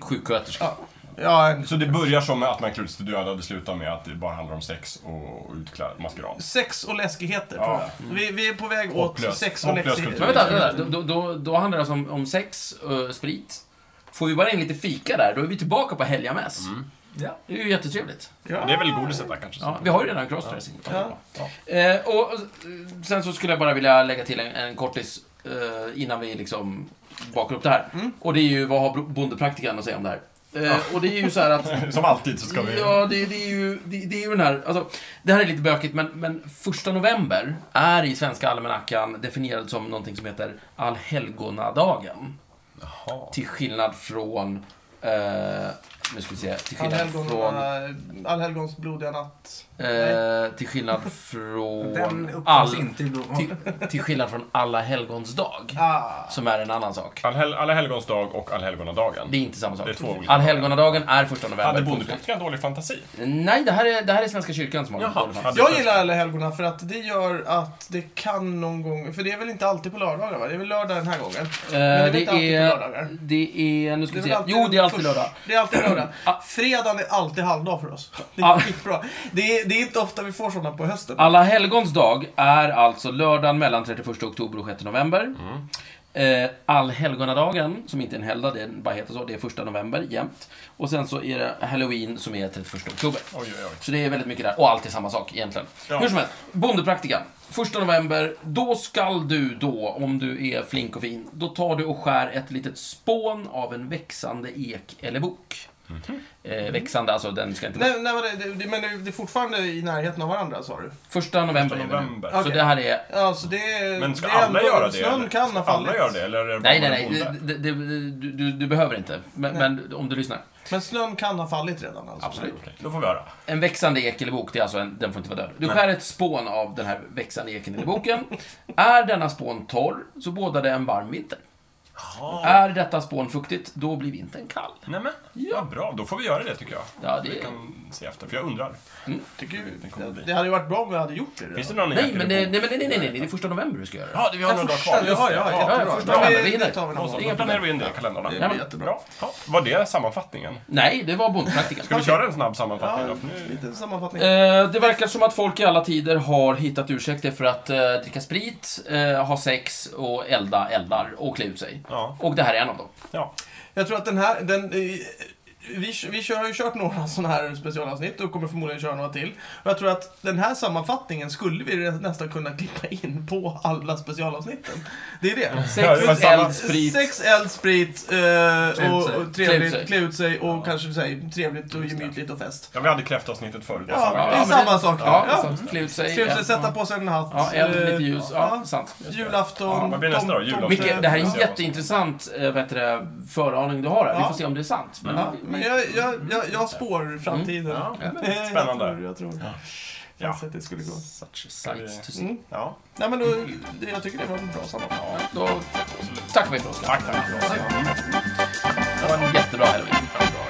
[SPEAKER 2] Sjuksköterska.
[SPEAKER 1] ja. ja en,
[SPEAKER 4] Så det börjar som att man klär ut sig till döda och det slutar med att det bara handlar om sex och, och utklädd maskerad.
[SPEAKER 1] Sex och läskigheter,
[SPEAKER 4] Ja.
[SPEAKER 1] tror jag. Vi, vi är på väg åt
[SPEAKER 4] Hopplös-
[SPEAKER 1] sex och
[SPEAKER 4] hopplös
[SPEAKER 2] Men
[SPEAKER 1] läskigheter.
[SPEAKER 4] kultur.
[SPEAKER 2] vänta, vänta, vänta. Då, då, då handlar det alltså om, om sex, eh, sprit. Får vi bara in lite fika där, då är vi tillbaka på helgamäss.
[SPEAKER 3] Ja.
[SPEAKER 2] Det är ju jättetrevligt.
[SPEAKER 1] Ja.
[SPEAKER 4] Det är väl godiset där kanske.
[SPEAKER 2] Ja, vi har ju redan crossdressing.
[SPEAKER 1] Ja.
[SPEAKER 2] Eh, och, och eh, sen så skulle jag bara vilja lägga till en, en kortis eh, innan vi liksom bakar upp det här.
[SPEAKER 1] Mm.
[SPEAKER 2] Och det är ju, vad har bro- bondepraktikan att säga om det här? Eh, Och det är ju så här att...
[SPEAKER 4] Som alltid så ska vi...
[SPEAKER 2] Ja, det, det, är ju, det, det är ju den här... Alltså, det här är lite bökigt, men, men första november är i Svenska almanackan definierad som någonting som heter allhelgonadagen. Till skillnad från... Eh, nu ska vi se. Till skillnad
[SPEAKER 1] Allhelgon-
[SPEAKER 2] från...
[SPEAKER 1] eh, Allhelgons blodiga natt.
[SPEAKER 2] Eh, till skillnad från...
[SPEAKER 3] Den upptas
[SPEAKER 2] all-
[SPEAKER 3] inte i blod.
[SPEAKER 2] till, till skillnad från alla helgons dag,
[SPEAKER 1] Ah.
[SPEAKER 2] som är en annan sak.
[SPEAKER 4] Allhel- Alla helgons dag och allhelgonadagen.
[SPEAKER 2] Det är inte samma sak.
[SPEAKER 4] Det är två olika
[SPEAKER 2] Allhelgonadagen är första
[SPEAKER 4] Hade
[SPEAKER 2] november.
[SPEAKER 4] bondepraktikan dålig fantasi?
[SPEAKER 2] Nej, det här, är, det här är Svenska kyrkan som har
[SPEAKER 4] Jaha.
[SPEAKER 2] dålig fantasi.
[SPEAKER 1] Jag gillar Alla helgona för att det gör att det kan någon gång, för det är väl inte alltid på lördagar va? Det är väl lördag den här gången?
[SPEAKER 2] Eh,
[SPEAKER 1] Men det är väl
[SPEAKER 2] det,
[SPEAKER 1] inte alltid på
[SPEAKER 2] är,
[SPEAKER 1] lördagar?
[SPEAKER 2] det är... Nu ska
[SPEAKER 1] Det är
[SPEAKER 2] vi
[SPEAKER 1] väl
[SPEAKER 2] se. Jo, det är alltid
[SPEAKER 1] först-
[SPEAKER 2] lördag.
[SPEAKER 1] Det är alltid lördag. lördag.
[SPEAKER 2] Ah.
[SPEAKER 1] Fredagen är alltid halvdag för oss. Det
[SPEAKER 2] Ah.
[SPEAKER 1] är skitbra. Det är, det är inte ofta vi får sådana på hösten.
[SPEAKER 2] Alla helgons dag är alltså lördagen mellan 31 oktober och 6 november.
[SPEAKER 4] Mm.
[SPEAKER 2] Eh, Allhelgonadagen, som inte är en helgdag, det är- bara heter så, det är 1 november jämt. Och sen så är det halloween som är 31 oktober.
[SPEAKER 4] Oj, oj, oj.
[SPEAKER 2] Så det är väldigt mycket där, och allt är samma sak egentligen.
[SPEAKER 4] Ja.
[SPEAKER 2] Hur som helst, Bondepraktikan. 1 november, då skall du då, om du är flink och fin, då tar du och skär ett litet spån av en växande ek eller bok.
[SPEAKER 4] Mhm.
[SPEAKER 2] Eh, växande, alltså den ska inte...
[SPEAKER 1] Nej, nej, men det- det, det, men det, det är fortfarande i närheten av varandra, sa du?
[SPEAKER 2] Första november, är vi nu.
[SPEAKER 4] november.
[SPEAKER 1] Ja.
[SPEAKER 2] Så
[SPEAKER 1] Okej.
[SPEAKER 2] det här är
[SPEAKER 1] Alltså det är...
[SPEAKER 4] Men ska
[SPEAKER 1] det är
[SPEAKER 4] alla
[SPEAKER 1] ändå-
[SPEAKER 4] göra det?
[SPEAKER 1] Snön
[SPEAKER 4] eller?
[SPEAKER 1] kan ha
[SPEAKER 4] ska alla
[SPEAKER 1] fallit.
[SPEAKER 4] göra det? Eller är det bara
[SPEAKER 2] Nej, nej,
[SPEAKER 4] en
[SPEAKER 2] nej.
[SPEAKER 4] bonde?
[SPEAKER 2] Det, det, det, du, du, du behöver inte. Men, men om du lyssnar.
[SPEAKER 1] Men snön kan ha fallit redan alltså.
[SPEAKER 4] Okej, då får vi höra.
[SPEAKER 2] En växande ek eller bok, det är alltså en, den får inte vara död. Du skär ett spån av den här växande eken eller boken. är denna spån torr, så bådar det en varm vinter. Är detta spån fuktigt, då blir vintern kall.
[SPEAKER 4] Nej, men, ja, bra. Då får vi göra det, tycker jag.
[SPEAKER 2] Ja, det-
[SPEAKER 4] Vi kan se efter, för jag undrar.
[SPEAKER 1] Tycker ju,
[SPEAKER 4] Den kommer
[SPEAKER 1] det,
[SPEAKER 4] bli.
[SPEAKER 1] det hade ju varit bra om vi hade gjort det redan.
[SPEAKER 4] Finns det någon
[SPEAKER 2] Nej,
[SPEAKER 4] jäkel
[SPEAKER 2] men det,
[SPEAKER 4] i
[SPEAKER 2] nej, men nej, nej, nej, nej, det är första november du ska göra det.
[SPEAKER 4] Ja, det vi har några dagar kvar.
[SPEAKER 1] Första-
[SPEAKER 4] Just det.
[SPEAKER 1] ja, ja,
[SPEAKER 4] Ja,
[SPEAKER 1] jättebra.
[SPEAKER 2] ja, första
[SPEAKER 1] Men
[SPEAKER 2] november,
[SPEAKER 1] det-
[SPEAKER 2] vi hinner.
[SPEAKER 1] det tar vi någon
[SPEAKER 4] Och så,
[SPEAKER 1] gång.
[SPEAKER 4] Då planerar vi in det i kalendrarna.
[SPEAKER 1] Det är jättebra.
[SPEAKER 4] Bra. Ja, var det sammanfattningen?
[SPEAKER 2] Nej, det var bondpraktikan.
[SPEAKER 4] Ska vi köra en snabb sammanfattning?
[SPEAKER 1] Ja,
[SPEAKER 4] då? För nu-
[SPEAKER 1] lite sammanfattning.
[SPEAKER 2] Eh, det verkar som att folk i alla tider har hittat ursäkter för att eh, dricka sprit, eh, ha sex och elda eldar och klä ut sig.
[SPEAKER 4] Ja.
[SPEAKER 2] Och det här är en av dem.
[SPEAKER 4] Ja.
[SPEAKER 1] Jag tror att den här, den, eh, vi, vi kör, har ju kört några sådana här specialavsnitt och kommer förmodligen köra några till. Och jag tror att den här sammanfattningen skulle vi nästan kunna klippa in på alla specialavsnitten. Det är det.
[SPEAKER 4] Ja, det var
[SPEAKER 2] Sex,
[SPEAKER 4] samma-
[SPEAKER 2] eld, sprit.
[SPEAKER 1] Sex, eld, sprit eh, och, och
[SPEAKER 3] sig.
[SPEAKER 2] Klä ut sig.
[SPEAKER 1] trevligt, klä ut sig och kanske så här, trevligt och gemytligt och fest.
[SPEAKER 4] ja, vi hade kräftavsnittet förut. Det var
[SPEAKER 1] Ja,
[SPEAKER 4] samma
[SPEAKER 1] det
[SPEAKER 4] grej.
[SPEAKER 1] är samma sak.
[SPEAKER 2] Ja,
[SPEAKER 1] Ja.
[SPEAKER 2] sant. Klä ut sig.
[SPEAKER 1] Klä ut sig,
[SPEAKER 2] eld.
[SPEAKER 1] sätta på sig en hatt.
[SPEAKER 2] Ja, eld,
[SPEAKER 1] eh,
[SPEAKER 2] lite ljus. Ja, sant.
[SPEAKER 1] Julafton.
[SPEAKER 4] Ja, vad blir nästa då?
[SPEAKER 1] tom-
[SPEAKER 4] Julafton.
[SPEAKER 1] tomte.
[SPEAKER 2] Micke, det här är en jätteintressant eh, vet du, det, föraning du har här. Vi
[SPEAKER 1] Ja.
[SPEAKER 2] får se om det är sant. Men,
[SPEAKER 1] Ja, men jag, jag, jag,
[SPEAKER 2] Mm.
[SPEAKER 1] jag spår framtiden.
[SPEAKER 4] Ja, men
[SPEAKER 1] Eh, jag
[SPEAKER 4] spännande.
[SPEAKER 1] tror- Jag tror det.
[SPEAKER 4] Ja.
[SPEAKER 1] Känns att det skulle gå.
[SPEAKER 2] Such sights to see.
[SPEAKER 1] Mm.
[SPEAKER 4] Ja,
[SPEAKER 1] Nej, men då, det- jag tycker det var en bra sammanfattning.
[SPEAKER 2] Då tackar vi för oss.
[SPEAKER 4] tack, tack.
[SPEAKER 2] Det var en jättebra helg.
[SPEAKER 4] Bra.